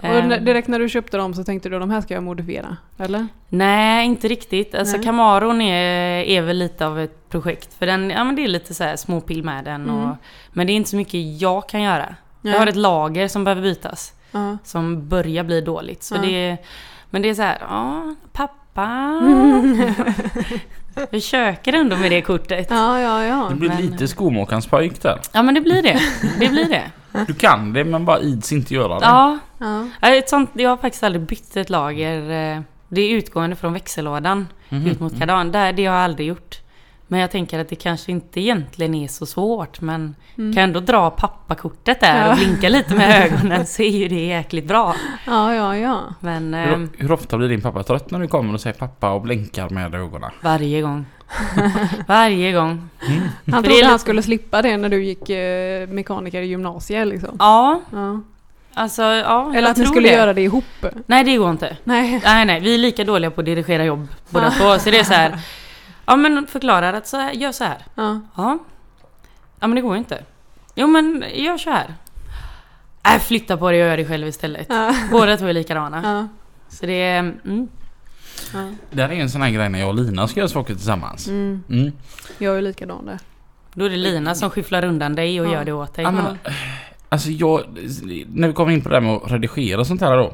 Och
Ehm,
när- direkt när du köpte dem så tänkte du de här ska jag modifiera? Eller?
Nej, inte riktigt. Alltså
Nej.
Camaron är, är väl lite av ett projekt. För den, ja men det är lite så här småpill med den. Och,
Mm.
Men det är inte så mycket jag kan göra. Jag har ett lager som behöver bytas.
Ja.
Som börjar bli dåligt. Så
Ja.
det, men det är så här, ja, pappa. Försöker ändå med det kortet.
Ja, ja,
Det
ja.
blir
men-
lite skomakarens pojk där.
Ja men det blir det. Det blir det.
Du kan det men bara ids inte göra det.
Ja,
ja.
Ja, Ett sånt, jag har faktiskt aldrig bytt ett lager. eh, Det är utgående från växellådan
Mhm.
ut mot kardan. Det, det har jag aldrig gjort. Men jag tänker att det kanske inte egentligen är så svårt men
Mm.
kan jag ändå dra pappakortet där och
Ja.
blinka lite med ögonen så är ju det jäkligt bra.
Ja, ja, ja.
Men
Hur,
ehm,
o- hur ofta blir din pappa trött när du kommer och säger pappa och blinkar med ögonen?
varje gång. Varje gång.
Han
För det är
trodde han
lite-
skulle slippa det när du gick eh, mekaniker i gymnasiet liksom.
Ja,
Ja.
alltså ja. jag
Eller att ni
tror
skulle
det.
göra det ihop.
Nej, det går inte.
Nej.
Nej, nej, vi är lika dåliga på att dirigera jobb båda två. Så det är så här. Ja, men förklarar att så här, gör så här.
Ja.
Ja. Ja, men det går ju inte. Jo, men gör så här. Nej, flytta på dig och gör det själv istället.
Ja.
Båda två är likadana.
Ja.
Så det är... Mm.
Ja.
Det här är en sån här grej när jag och Lina ska göra saker tillsammans.
Mm.
Mm.
Jag är likadan där.
Då är det Lina som skyfflar undan dig och
Ja.
gör det åt dig.
Ja, men, alltså jag, när vi kommer in på det här med att redigera och sånt här då.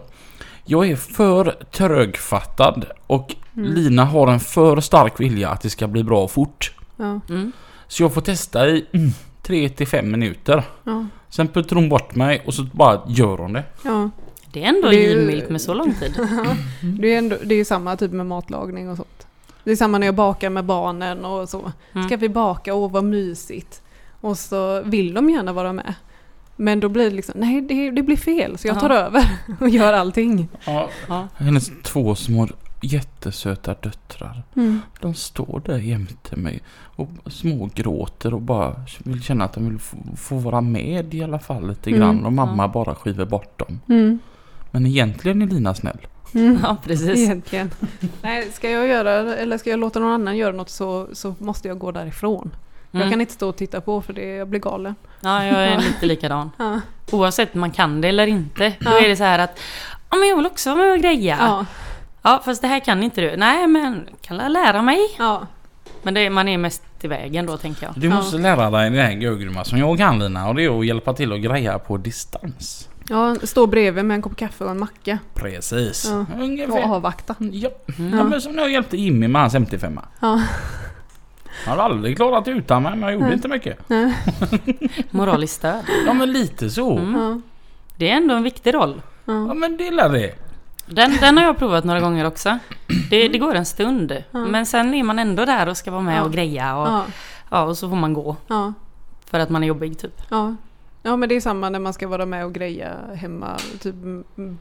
Jag är för trögfattad och
Mm.
Lina har en för stark vilja att det ska bli bra fort.
Ja.
Mm.
Så jag får testa i mm, 3 till 5 minuter.
Ja.
Sen puttar hon bort mig och så bara gör hon det.
Ja.
Det är ändå
Det är ju-
givmilt med så lång tid.
Det är ju ändå, det är ju samma typ med matlagning och sånt. Det är samma när jag bakar med barnen och så.
Mm.
Ska vi baka? Åh vad mysigt. Och så vill de gärna vara med. Men då blir det liksom, nej det, det blir fel så jag tar
Ja.
över och gör allting.
Ja.
Ja.
Hennes två små jättesöta döttrar.
Mm.
De står där jämte mig och smågråter och bara vill känna att de vill få, få vara med i alla fall lite
Mm.
grann. Och mamma
Ja.
bara skiver bort dem.
Mm.
Men egentligen är Lina snäll.
Mm.
ja, precis.
Egentligen. Nej, ska jag göra eller ska jag låta någon annan göra något så, så måste jag gå därifrån. Jag kan
Mm.
inte stå och titta på för det, jag blir galen.
Ja, jag är lite likadan.
Ja.
Oavsett man kan det eller inte, då är det så här att Ja men jag vill också vara med och greja.
Ja.
Ja, fast det här kan inte du. Nej, men kan jag lära mig?
Ja.
Men det, man är mest i vägen då, tänker jag.
Du
Ja.
måste lära dig den här görgrymma som jag kan Lina och det är att hjälpa till att greja på distans.
ja, stå bredvid med en kopp kaffe och en macka
Precis.
Ja. och
Ungefär.
avvakta.
Ja.
Mm.
ja men som när jag hjälpte Jimmy med hans MT5.
Ja.
Han hade aldrig klarat det utan mig men jag gjorde
Nej.
inte mycket.
Moraliskt stöd.
Ja men lite så.
Mm.
Ja.
Det är ändå en viktig roll.
Ja
Ja.
men det är det.
Den, den har jag provat några gånger också. Det, det går en stund,
Ja.
men sen är man ändå där och ska vara med
Ja.
och greja och,
Ja.
ja, och så får man gå
Ja.
för att man är jobbig typ.
Ja. ja, men det är samma när man ska vara med och greja hemma, typ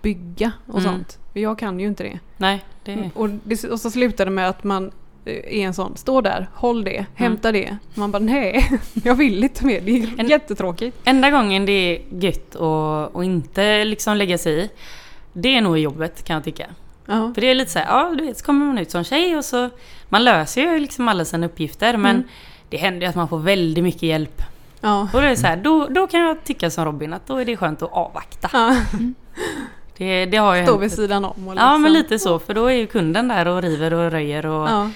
bygga och
Mm.
sånt. Jag kan ju inte det.
Nej, det är...
Och, det, och så slutar det med att man eh, är en sån, stå där, håll det, hämta det. Man bara nej, jag vill inte mer, det är
En-
jättetråkigt.
Enda gången det är gött och, och inte liksom lägga sig i, det är nog i jobbet kan jag tycka.
Ja.
För det är lite så här, ja du vet så kommer man ut som tjej och så Man löser ju liksom alla sina uppgifter men
Mm.
Det händer ju att man får väldigt mycket hjälp.
Ja.
Och det är så här, då, då kan jag tycka som Robin att då är det skönt att avvakta.
Ja.
Det, det har ju
Stå
hänt.
vid sidan om och
Ja men
liksom-
lite så för då är ju kunden där och river och röjer och
Ja.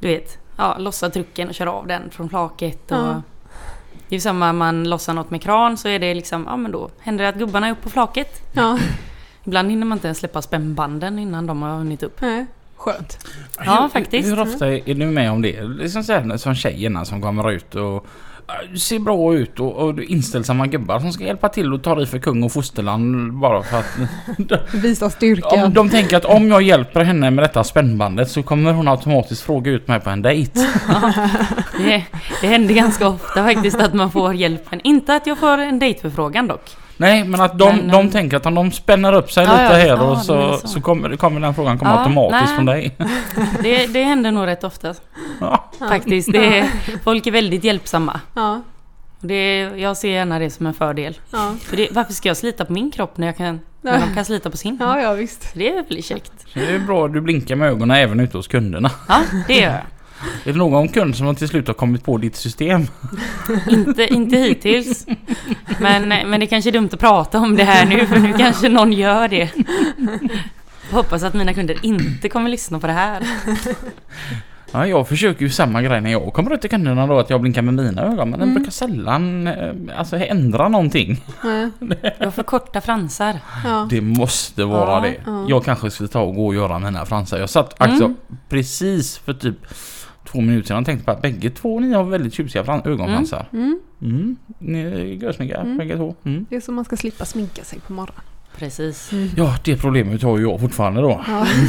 du vet ja, Lossar trucken och kör av den från flaket. Och,
Ja.
Det är ju samma man lossar något med kran så är det liksom ja men då händer det att gubbarna är uppe på flaket.
ja.
Ibland hinner man inte ens släppa spännbanden innan de har hunnit upp.
Nej. Skönt.
Ja,
hur,
faktiskt.
Hur ofta är du med om det? Liksom så här, som tjejerna som kommer ut och äh, ser bra ut och, och det är inställsamma gubbar som ska hjälpa till och ta dig för kung och fosterland bara för att...
Visa
om
styrkan.
de tänker att om jag hjälper henne med detta spännbandet så kommer hon automatiskt fråga ut mig på en dejt.
Det, det händer ganska ofta faktiskt att man får hjälpen. Inte att jag får en dejtförfrågan dock.
Nej men att de,
Men,
de
eh,
tänker att om de spänner upp sig
Ja,
lite
ja,
här
ja,
och
det
så,
menar
så.
så.
kommer, det kommer den frågan komma
Ja,
automatiskt
nej.
från dig.
Det, det händer nog rätt ofta
Ja.
faktiskt. Det, folk är väldigt hjälpsamma.
Ja.
Och Det, jag ser gärna det som en fördel.
Ja.
För det, varför ska jag slita på min kropp när, jag kan, när de kan slita på sin?
ja, ja visst.
Det är väl käckt.
Så det är bra att du blinkar med ögonen även ute hos kunderna.
Ja, det gör jag.
Är det någon kund som till slut har kommit på ditt system?
Inte, inte hittills. Men, men det kanske är dumt att prata om det här nu för nu kanske någon gör det. Jag hoppas att mina kunder inte kommer lyssna på det här.
Ja, jag försöker ju samma grej när jag kommer ut till kunderna då att jag blinkar med mina ögon men den
Mm.
brukar sällan eh, alltså, ändra någonting.
Nej.
Jag får korta fransar.
Ja.
Det måste vara
Ja,
det.
ja.
Jag kanske skulle ta och gå och göra mina fransar. Jag satt faktiskt
Mm.
precis för typ två minuter sedan och tänkte på att bägge två ni har väldigt tjusiga fran- ögonfransar.
Mm.
Mm. Ni är görsnygga
Mm.
bägge två. Mm.
Det är så man ska slippa sminka sig på morgonen.
Precis.
Ja, det problemet har ju jag fortfarande då.
Ja.
Mm.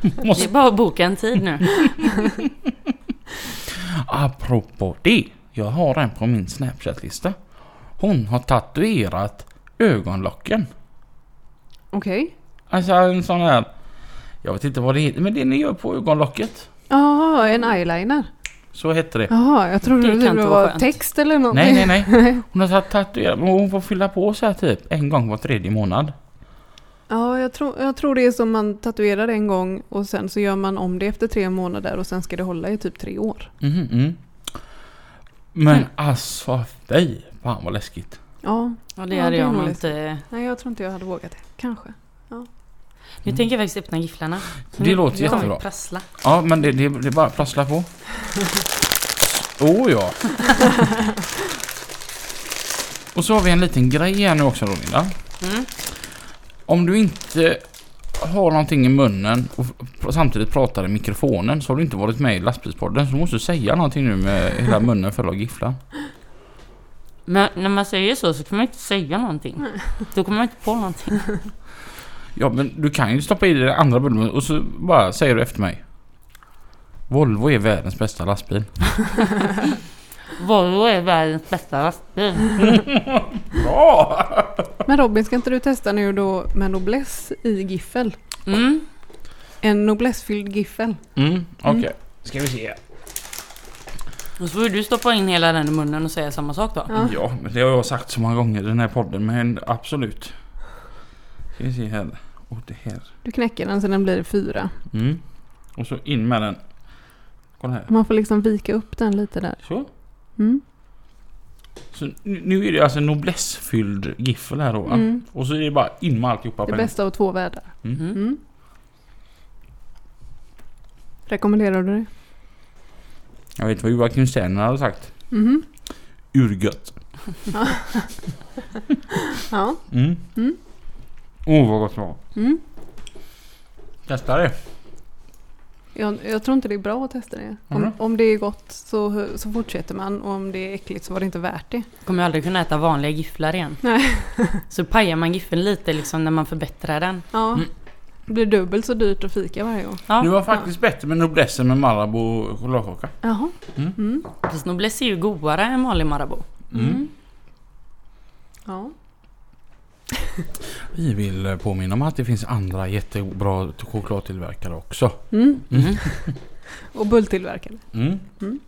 Det är bara att boka en tid nu.
Apropå det. Jag har en på min Snapchat-lista. Hon har tatuerat ögonlocken.
Okej.
Alltså en sån här... Jag vet inte vad det heter, men det ni gör på ögonlocket.
Jaha, en eyeliner.
Så hette det.
Jaha, jag
Det
trodde
kan
typ. det,
inte
det
vara
var
skönt.
text eller någonting.
Nej, nej, nej. Hon har tatu- tatuerat, men hon får fylla på så här typ en gång var tredje månad.
Ja, jag, tror jag tror det är som man tatuerar en gång och sen så gör man om det efter tre månader och sen ska det hålla i typ tre år.
Mhm, mm. Men alltså fy fan vad läskigt.
Ja,
Och det
Ja, det
hade
är
jag nog
nog
inte...
nej jag tror inte jag hade vågat det. Kanske.
Nu tänker jag faktiskt öppna gifflarna.
Det
Nu-
låter
nu kommer
jättebra.
det prassla.
Ja, men det, det, det är bara att prassla på. Åh ja. Och så har vi en liten grej här nu också då Linda.
Mm.
Om du inte har någonting i munnen och pr- samtidigt pratar i mikrofonen så har du inte varit med i lastbilspodden så du måste säga någonting nu med hela munnen full av gifflar.
Men när man säger så så kan man inte säga någonting. Då kommer man inte på någonting.
Ja men du kan ju stoppa i dig den andra bullen och så bara säger du efter mig. Volvo är världens bästa lastbil.
Volvo är världens bästa lastbil.
Bra!
Men Robin, ska inte du testa nu då med nobless i giffel?
Mm.
En noblessfylld giffel.
Mm, okej.
Mm.
Ska vi se.
Och så får ju du stoppa in hela den i munnen och säga samma sak då.
Ja.
Ja, men det har jag sagt så många gånger i den här podden men absolut. Ska vi se här. Och det här.
Du knäcker den så den blir fyra.
Mm. Och så in med den. Kolla här.
Man får liksom vika upp den lite där.
Så.
Mm.
så nu- nu är det alltså en noblessfylld giffel här då va?
Mm.
Och så är det bara in med alltihopa
Det
på en
bästa av två världar.
Mm.
Mm. Rekommenderar du det?
Jag vet vad Joakim Sterner hade sagt.
Mhm.
Urgött.
Ja.
Mm.
Mm.
Åh vad gott det var.
Mm.
Testa det.
Jag, jag tror inte det är bra att testa det. Om,
Mhm.
om det är gott så, så fortsätter man och om det är äckligt så var det inte värt det.
Kommer jag aldrig kunna äta vanliga gifflar igen.
Nej.
Så pajar man giffeln lite liksom när man förbättrar den.
Ja.
Mm.
Det blir dubbelt så dyrt att fika varje gång.
Det
Ja,
var faktiskt bättre med noblessen med Marabou och chokladkaka.
Jaha.
Mm.
Mm.
fast Noblesse är ju godare än vanlig Marabou.
Mm. Ja.
Vi vill eh, påminna om att det finns andra jättebra t- chokladtillverkare också.
Mm.
Mm.
Och bulltillverkare.
Mm.
Mm.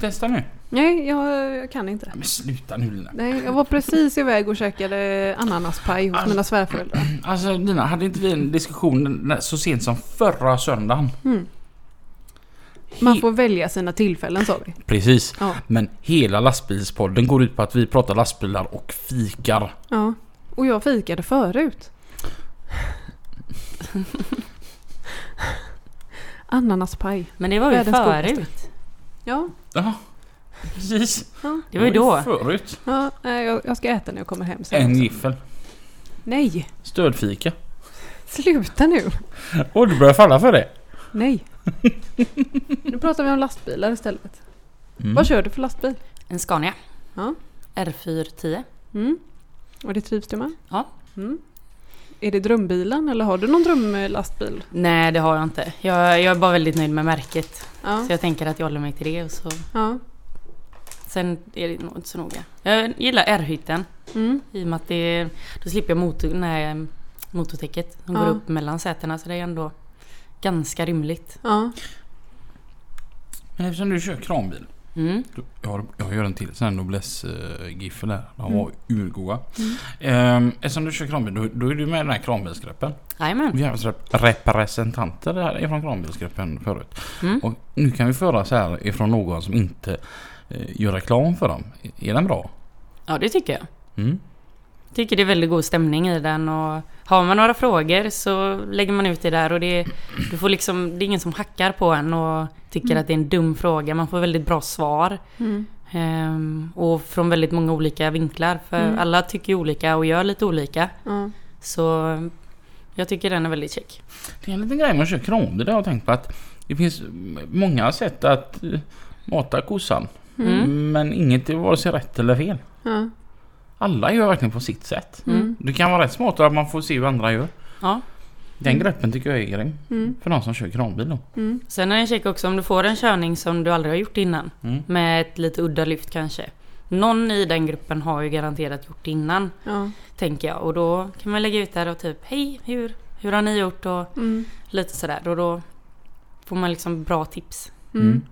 Testa nu.
Nej, jag, jag kan inte.
Men sluta nu Lina.
Nej, jag var precis iväg och käkade ananaspaj hos mina svärföräldrar.
Alltså Lina, hade inte vi en diskussion den- den- så sent som förra söndagen?
Mm. Man får välja sina tillfällen sa vi.
Precis.
Ja.
Men hela lastbilspodden går ut på att vi pratar lastbilar och fikar.
ja. Och jag fikade förut. Ananaspaj.
Men det var ju
Världens godaste.
förut.
Ja,
Ja, precis.
ja.
Det var ju då.
Förut.
ja nej, jag, jag ska äta när jag kommer hem sen.
En
också.
giffel.
Nej,
Stödfika.
sluta nu.
Och du börjar falla för det.
Nej. Nu pratar vi om lastbilar istället.
Mm.
Vad kör du för lastbil?
En Scania.
Ja.
R410.
Mm. Och det trivs du med?
Ja.
Mm. Är det drömbilen eller har du någon drömlastbil?
Nej, det har jag inte. Jag, jag är bara väldigt nöjd med märket.
Ja.
Så jag tänker att jag håller mig till det. Och så.
ja.
Sen är det nog inte så noga. Jag gillar R-hytten.
Mm.
I och med att det, då slipper jag motor, nej, motortäcket som går
Ja.
upp mellan sätena. Så det är ändå ganska rymligt.
ja.
Men eftersom du kör kranbil.
Mm.
Du, Jag, har, jag gör en till sån här nobless-giffel här. De
Mm.
var urgoda.
Mm.
Ehm, eftersom du kör kranbil, då, då är du med i den här kranbilsgruppen.
Jajamän.
Vi har haft rep- representanter här ifrån kranbilsgruppen förut.
Mm.
Och nu kan vi föra så här ifrån någon som inte eh, gör reklam för dem. Är den bra?
Ja, det tycker jag.
Mm.
Tycker det är väldigt god stämning i den och har man några frågor så lägger man ut det där och det, du får liksom, det är ingen som hackar på en och tycker att det är en dum fråga. Man får väldigt bra svar.
Mm.
ehm, och från väldigt många olika vinklar för
Mm.
alla tycker ju olika och gör lite olika.
ja.
Så jag tycker den är väldigt check.
Det är en liten grej med att köra kranbil. Det har jag tänkt på att det finns m- många sätt att eh, mata kossan.
Mm.
Men inget är vare sig rätt eller fel.
Ja.
Alla gör verkligen på sitt sätt.
Mm.
Det kan vara rätt smart att man får se hur andra gör.
Ja.
Den greppen tycker jag är grym.
Mm.
För någon som kör kranbil då.
Mm.
Sen är det en check också om du får en körning som du aldrig har gjort innan.
Mm.
Med ett lite udda lyft kanske. Någon i den gruppen har ju garanterat gjort det innan.
Ja. Mm,
Tänker jag. Och då kan man lägga ut där och typ Hej, hur, hur har ni gjort? Och
Mm.
lite sådär. Och då får man liksom bra tips.
Mm.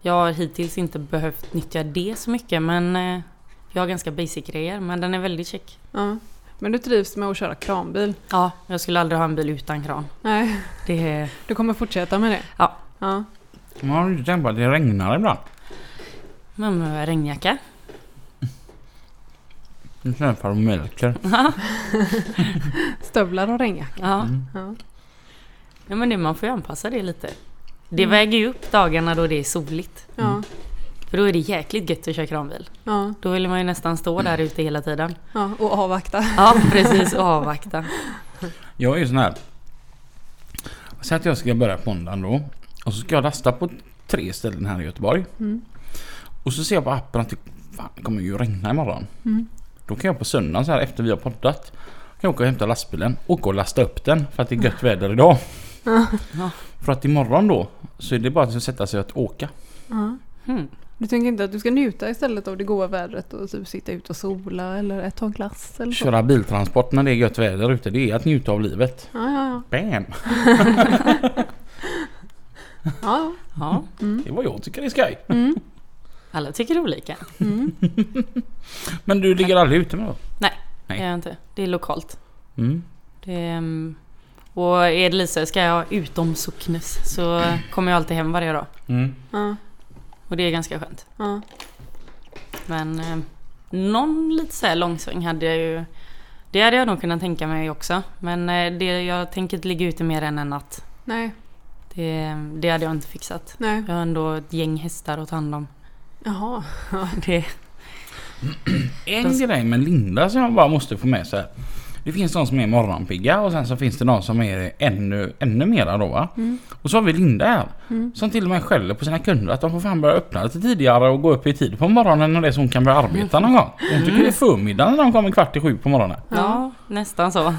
Jag har hittills inte behövt nyttja det så mycket men eh, jag har ganska basic grejer. Men den är väldigt check.
Ja. Men du trivs med att köra kranbil?
Ja, jag skulle aldrig ha en bil utan kran.
Nej,
Det är...
du kommer fortsätta med det?
Ja.
Ja.
Man har ju tänkt på att Mm. det regnar ibland.
Man behöver regnjacka.
Nu träffar de mjölker.
Stövlar och regnjacka?
Ja.
Mm.
Ja.
Ja men det, man får ju anpassa det lite. Det
Mm.
väger ju upp dagarna då det är soligt.
Ja.
För då är det jäkligt gött att köra kranbil.
Ja.
Då vill man ju nästan stå där ute hela tiden.
ja. Och avvakta?
Mm. Ja precis, och avvakta.
Jag är ju sån här. Säg att jag ska börja på måndagen då. Och så ska jag lasta på tre ställen här i Göteborg.
Mm.
Och så ser jag på appen att det fan, det kommer ju regna imorgon.
Mm.
Då kan jag på söndagen så här efter vi har poddat. Kan jag åka och hämta lastbilen. Åka och lasta upp den för att det är gött väder idag.
Ja.
För att imorgon då så är det bara att sätta sig att åka.
Ja.
Hmm.
Du tänker inte att du ska njuta istället av det goda vädret och typ sitta ute och sola eller äta en glass eller så?
Köra biltransport när det är gött väder ute. Det är att njuta av livet.
Ja, ja, ja.
Bam!
ja.
Ja,
Det är vad jag tycker är skoj.
ja. Mm.
alla tycker olika.
Mm.
Men du ligger aldrig ute med då? Nej.
Nej. Jag inte. Det är lokalt.
Mm.
Det är, mm, och är det Lisa, ska jag utom socknes så kommer jag alltid hem varje dag.
Mm.
Ja,
Och det är ganska skönt.
ja.
Men eh, någon lite så här långsväng hade jag ju. Det hade jag nog kunnat tänka mig också. Men eh, det, jag tänker inte ligga ute mer än en natt.
Nej,
Det, det hade jag inte fixat.
nej.
Jag har ändå ett gäng hästar att ta hand om.
Jaha.
Det,
En grej med Linda som jag bara måste få med så här. Det finns de som är morgonpigga och sen så finns det de som är ännu, ännu mera då va.
Mm.
Och så har vi Linda här.
Mm.
Som till och med skäller på sina kunder att de får fan börja öppna lite tidigare och gå upp i tid på morgonen och det så hon kan börja arbeta någon gång. Hon tycker det är förmiddagen när de kommer kvart i sju på morgonen.
Ja.
ja, nästan så.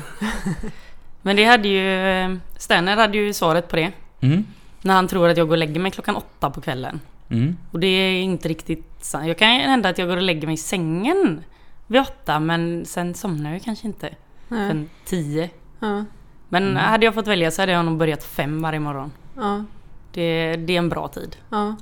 Men det hade ju... Stenner hade ju svaret på det.
Mm.
När han tror att jag går och lägger mig klockan åtta på kvällen.
Mm.
Och det är inte riktigt sant. Jag kan hända att jag går och lägger mig i sängen vid åtta men sen somnar jag kanske inte
Nej.
förrän tio.
Ja.
Men
Mm.
hade jag fått välja så hade jag nog börjat fem varje morgon.
Ja.
Det, det är en bra tid.
Ja.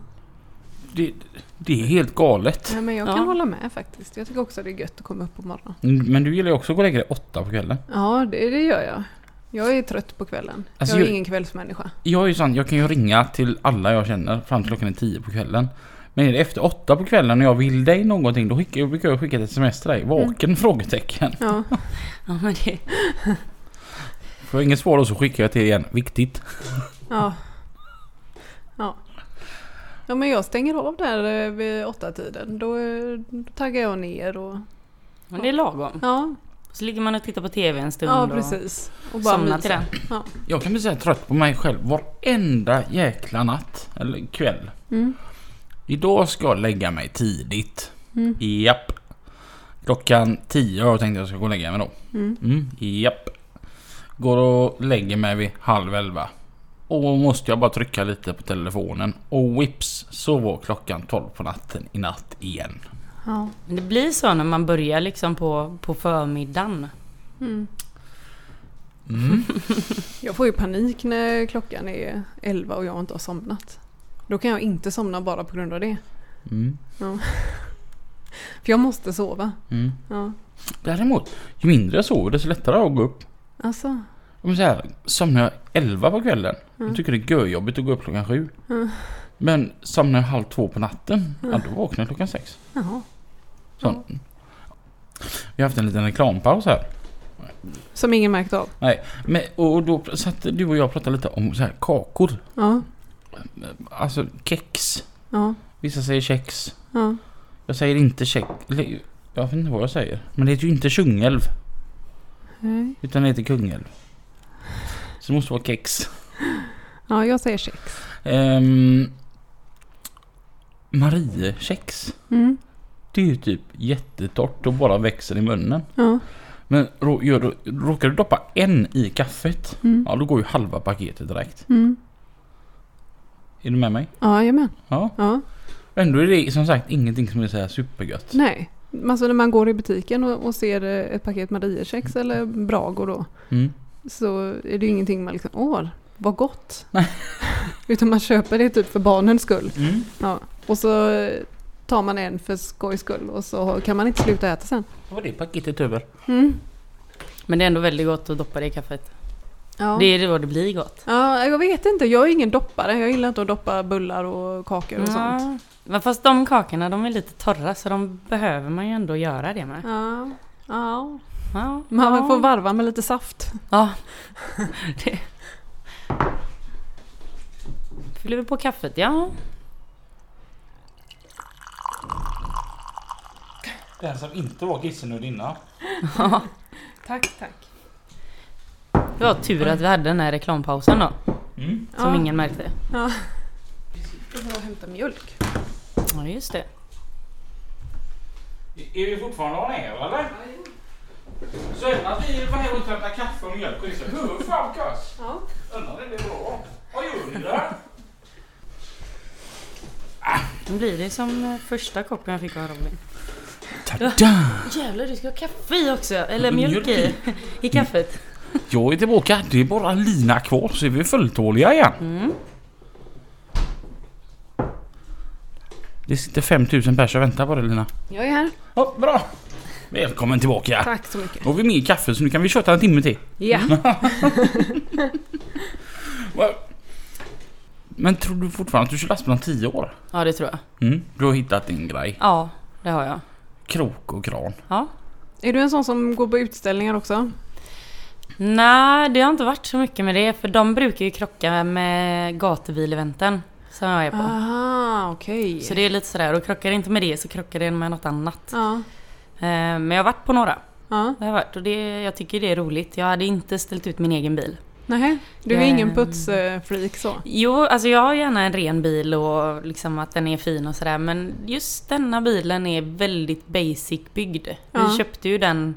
Det, det är helt galet.
ja, men jag kan
Ja.
hålla med faktiskt. Jag tycker också det är gött att komma upp på morgonen.
Men du gillar ju också att gå och lägga dig åtta på kvällen.
Ja, det, det gör jag. Jag är trött på kvällen.
Alltså,
jag är
jag-
ingen kvällsmänniska.
Jag är ju sån, jag kan ju ringa till alla jag känner fram till klockan är tio på kvällen. Men är det efter åtta på kvällen och jag vill dig någonting då skickar, brukar jag skicka ett sms till dig. Vaken? Frågetecken.
Ja.
Ja, men det,
Får jag inget svar då så skickar jag till dig igen. Viktigt.
Ja. Ja. Ja men jag stänger av där eh, vid åtta tiden. Då eh, taggar jag ner och...
men det är lagom.
Ja,
Så ligger man och tittar på TV en stund
ja
och
precis. Och
somnar
myser.
till den.
Jag kan bli så här trött på mig själv varenda jäkla natt. Eller kväll.
Mm.
Idag ska jag lägga mig tidigt.
Mm.
Japp. Klockan 10 har jag tänkt att jag ska gå och lägga mig då.
Mm.
Mm, japp. Går och lägger mig vid halv elva. Och måste jag bara trycka lite på telefonen. Och whips så var klockan 12 på natten i natt igen.
Ja.
Men det blir så när man börjar liksom på, på förmiddagen.
Mm.
Mm.
Jag får ju panik när klockan är elva och jag inte har somnat. Då kan jag inte somna bara på grund av det.
Mm.
För jag måste sova.
Mm.
Ja.
Däremot, ju mindre jag sover desto lättare är det att gå upp.
Alltså.
Om så här, somnar jag 11 på kvällen,
Mm.
då tycker jag det är görjobbigt att gå upp klockan 7.
Mm.
Men somnar jag halv två på natten, ja, då vaknar jag klockan 6.
Jaha.
Så. Vi har haft en liten reklampaus här.
Som ingen märkt av.
Men, och då satt du och jag och pratade lite om så här, kakor.
Ja.
Alltså kex.
Ja.
Vissa säger kex.
Ja.
Jag säger inte kex. eller, Jag vet inte vad jag säger. Men det heter ju inte Kungälv,
Nej.
utan det heter Kungälv. Så det måste vara kex.
Ja, jag säger sex.
Um, Mariekex.
Mm.
Det är ju typ jättetort och bara växer i munnen.
Ja.
Men rå- gör du, råkar du doppa en i kaffet,
Mm.
ja då går ju halva paketet direkt.
Mm.
Är du med mig?
Ja, jajamän.
Ja.
Ja.
Ändå är det som sagt ingenting som är så här supergött.
Nej. Alltså när man går i butiken och, och ser eh, ett paket Mariekex eller Brago då.
Mm.
Så är det ju ingenting man liksom, åh, vad gott.
Nej.
Utan man köper det typ för barnens skull.
Mm.
Ja. Och så eh, tar man en för skojs skull och så har- kan man inte sluta äta sen.
Då var det paketet över.
Mm.
Men det är ändå väldigt gott att doppa det i kaffet.
Ja.
Det är det vad det blir gott.
ja, jag vet inte. Jag är ingen doppare. Jag gillar inte att doppa bullar och kakor och sånt.
Ja. Men fast de kakorna de är lite torra så de behöver man ju ändå göra det med.
Ja. ja.
Ja.
Man
ja.
får varva med lite saft.
Ja. Det. Fyller vi på kaffet? Ja.
Den som inte var kissenödinna.
Tack, tack.
Det var tur att vi hade den här reklampausen då.
Mm.
Som
ja.
ingen märkte.
Ja. Jag får hämta mjölk.
Ja just det.
Är vi fortfarande on air eller? Så även att vi var här och hämtade kaffe och mjölk och så. Hur fan kass?
Ja.
Undrar det blir bra. Vad gör ni där?
Nu blir det som eh, första koppen jag fick av Robin. Jävlar du ska ha kaffe i också! Eller mjölk i. I kaffet.
Jag är tillbaka. Det är bara lina kvar så är vi fulltåliga igen.
Mm.
Det sitter 5000 personer och väntar på dig Lina.
Jag är här.
Ja, bra! Välkommen tillbaka!
Tack så mycket.
Nu har vi mer kaffe så nu kan vi köta en timme till.
Ja.
Va? Men tror du fortfarande att du kör lastbil om 10 år?
Ja det tror jag.
Mm, du har hittat din grej.
Ja det har jag.
Krok och kran.
Ja.
Är du en sån som går på utställningar också?
Nej det har inte varit så mycket med det för de brukar ju krocka med gatubileventen. Som jag är på.
Aha, Ah, okej. Ah.
Så det är lite sådär och krockar det inte med det så krockar det med något annat.
Ja.
Eh, Men jag har varit på några.
ja.
Det har jag varit och det, jag tycker det är roligt. Jag hade inte ställt ut min egen bil.
Nähä. Du är
Eh.
ingen putsfreak så?
Jo, alltså jag har gärna en ren bil och liksom att den är fin och sådär. Men just denna bilen är väldigt basic byggd.
Ja.
Vi köpte ju den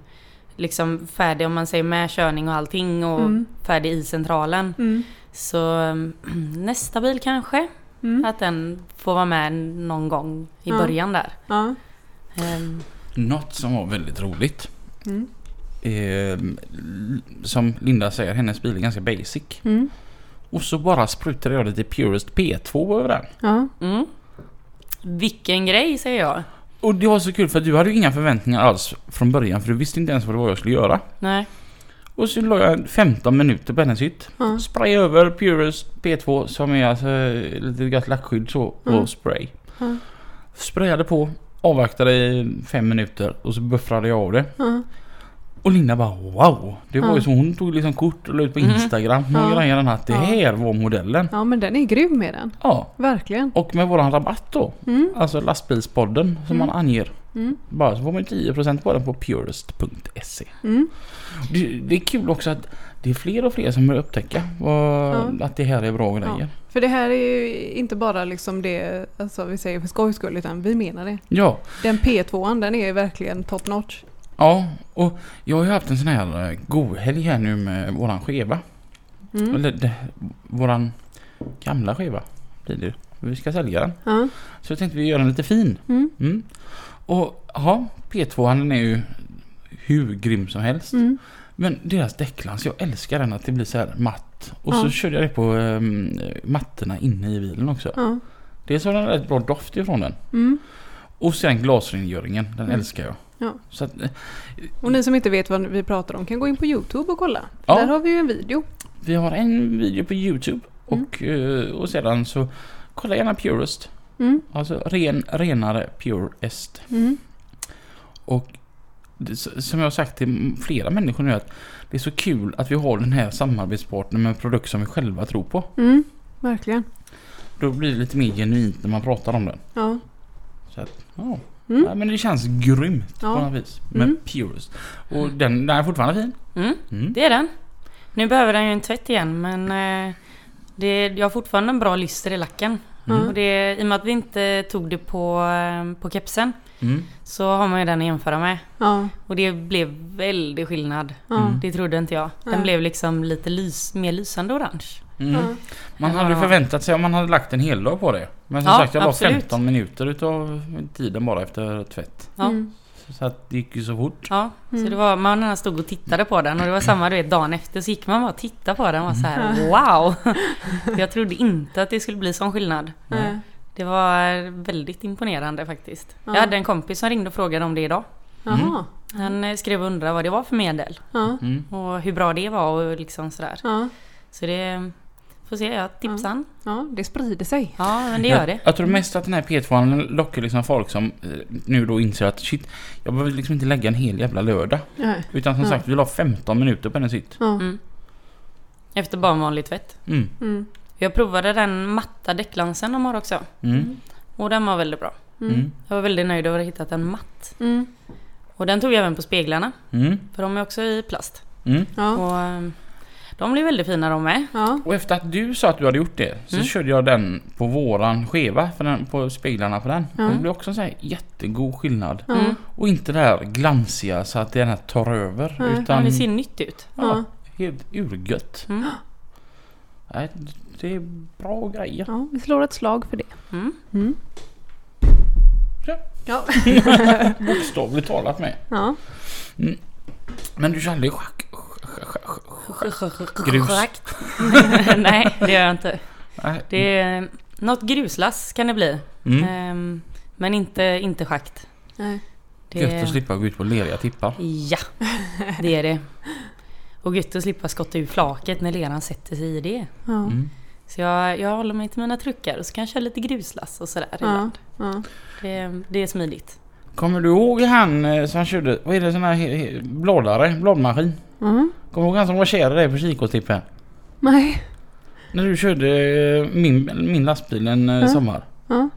liksom färdig om man säger med körning och allting och
Mm.
färdig i centralen.
Mm.
Så mm, nästa bil kanske.
Mm.
Att den får vara med någon gång i
Ja.
början där.
Ja.
Ehm,
Något som var väldigt roligt.
Mm.
ehm, l- som Linda säger, hennes bil är ganska basic.
Mm.
Och så bara sprutade jag lite Purest P2 över den.
Ja.
Mm. Vilken grej säger jag.
Och det var så kul för du hade ju inga förväntningar alls från början för du visste inte ens vad det var jag skulle göra.
Nej.
Och så la jag 15 minuter på hennes hytt.
Ja.
Spray över Purest P2 som är alltså eh, lite gött lackskydd så
Mm.
och spray.
Ja.
Sprayade på, avvaktade i 5 minuter och så buffrade jag av det.
Ja.
Och Linda bara wow! Det var
Ja.
ju som hon tog liksom kort och la ut på
Mhm.
Instagram
Ja.
och grejerna att det
Mm. Ja.
här var modellen.
ja, men den är grym med den.
Ja.
Verkligen.
Och med våran rabatt då,
Mm.
alltså lastbilspodden som
Mm.
man anger.
Mm.
Bara så får man ju 10% på den på purest.se.
Mm.
Det, det är kul också att det är fler och fler som börjar upptäcka vad, att det här är bra grejer.
Ja.
Ja.
För det här är ju inte bara liksom det alltså, vi säger för skojs skull utan vi menar det.
ja.
Den P2an den är verkligen top notch.
och jag har ju haft en sån här eh, godhelg här nu med våran skeva.
Mm.
Eller det, våran gamla skeva blir det ju. Vi ska sälja den.
Ja.
Så jag tänkte vi gör den lite fin.
Mm.
Mm. Och ja, P2 den är ju hur grym som helst.
Mm.
Men deras däcklans, jag älskar den att det blir så här matt. Och
Ja.
så körde jag det på um, mattorna inne i bilen också.
Ja.
Dels har den en rätt bra doft ifrån den.
Mm.
Och sen glasrengöringen, den
Mm.
älskar jag.
Ja.
Så att, eh,
Och ni som inte vet vad vi pratar om kan gå in på Youtube och kolla.
Ja.
Där har vi ju en video.
vi har en video på Youtube och, eh, och sedan så kolla gärna Purest.
Mm.
Alltså ren, renare Purest.
Mm.
Och det, s- som jag har sagt till flera människor nu att det är så kul att vi har den här samarbetspartnern med en produkt som vi själva tror på.
Mm. Verkligen.
Då blir det lite mer genuint när man pratar om den.
Ja.
Ja,
Mm.
Nej, men det känns grymt på
Ja.
något vis med
Mm.
Purest. Och den, den är fortfarande fin.
Mm,
Mm.
det är den. Nu behöver den ju en tvätt igen men eh, det, jag har fortfarande en bra lyster i lacken.
Mm.
Och det, I och med att vi inte tog det på, eh, på kepsen
Mm.
Så har man ju den att jämföra med.
Ja.
Och det blev väldig skillnad.
Ja.
Mm.
Det trodde inte jag. Den
Nej.
blev liksom lite lys, mer lysande orange.
Mm.
Ja.
Man hade ju förväntat sig om man hade lagt en hel dag på det. Men som
Ja,
sagt jag la
absolut.
15 minuter utav tiden bara efter tvätt.
Ja.
Mm.
Så att det gick ju så fort.
Ja, så
Mm.
det var, man nästan stod och tittade på den och det var samma du vet dagen efter så gick man bara och tittade på den och var så här wow! Jag trodde inte att det skulle bli sån skillnad.
Mm.
Nej.
Det var väldigt imponerande faktiskt. Jag
Ja.
hade en kompis som ringde och frågade om det idag.
Jaha.
Han eh, skrev och undrade vad det var för medel
Ja.
Mm.
och hur bra det var och liksom sådär.
Ja.
Så det får se, jag tipsar han.
ja, det sprider sig.
Ja, men det gör det.
Jag, jag tror mest att den här P2-handeln lockar liksom folk som eh, nu då inser att shit, jag behöver liksom inte lägga en hel jävla lördag.
Ja.
Utan som
Ja.
sagt vi la 15 minuter på den sitt.
Ja.
Mm. Efter bara en vanlig tvätt.
Mm.
Mm.
Jag provade den matta däcklansen de har också
Mm.
och den var väldigt bra.
Mm.
Jag var väldigt nöjd över att ha hittat en matt.
Mm.
Och den tog jag även på speglarna,
Mm.
för de är också i plast.
Mm.
Ja.
Och ehm, de blir väldigt fina de med.
Ja.
Och efter att du sa att du hade gjort det så
Mm.
körde jag den på våran skeva, för den, på speglarna på den. Och det
Mm.
blev också en sån här jättegod skillnad.
Ja.
Mm.
Och inte det här glansiga så att det här tar över.
Nej, ja,
Ja,
utan
det ser nytt ut.
ja,
Ja.
helt urgött.
Mm.
Nej, det är bra grejer.
ja, vi slår ett slag för det.
Mm.
Mm.
Ja.
Ja.
Bokstavligt talat med.
ja.
Men du kör aldrig schack? schack- schack- schack- Grus.
Schakt. Nej, det gör jag inte.
Nej.
Det är ehm, något gruslass kan det bli.
Mm.
Ehm, Men inte, inte schakt.
Nej.
Det
Gött att slippa gå ut på leriga tippar.
Ja, det är det. Och gött att slippa skotta ur flaket när leran sätter sig i det.
Ja.
Mm.
Så jag, jag håller mig till mina truckar och så kan jag köra lite gruslass och sådär
Ja.
ibland.
Ja.
Det, det är smidigt.
Kommer du ihåg han eh, som körde, vad är det sån här he- he- blådare, blådmaskin?
Mm.
Kommer du ihåg han som var kär i dig på kikåstippen?
Nej.
När du körde eh, min, min lastbil en eh,
Ja.
sommar.
Ja.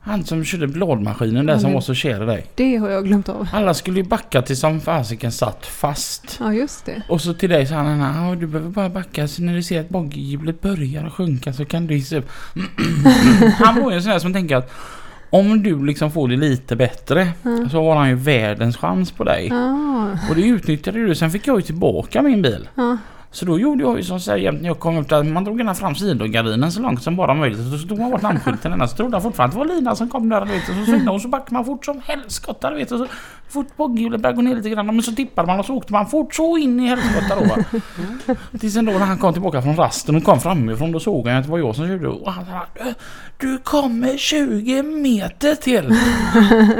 Han som körde blådmaskinen där
Ja,
som
men-
var så kär i dig.
Det har jag glömt av.
Alla skulle ju backa tills som fasiken satt fast.
Ja, just det.
Och så till dig sa han "Ja, du behöver bara backa så när du ser att boggihjulet börjar att sjunka så kan du hissa upp. han var ju en sån här som tänker att om du liksom får det lite bättre
Ja.
så har han ju världens chans på dig.
Ja.
Och det utnyttjade du. Sen fick jag ju tillbaka min bil.
Ja.
Så då gjorde jag ju som så här jämt när jag kom upp där. Man drog gärna fram sidogardinen så långt som bara möjligt. Och så tog man bort lampskylten ena. Så trodde jag fortfarande att det var Lina som kom där. du Vet, och så svängde hon så backade man fort som helskotta. du Vet, och så fort bogghjulet började gå ner lite grann. Men så tippade man och så åkte man fort så in i helskotta då. va. Tills ändå när han kom tillbaka från rasten och kom framifrån. Då såg han ju att det var jag som körde. Och han sa "Du- Du kommer 20 meter till.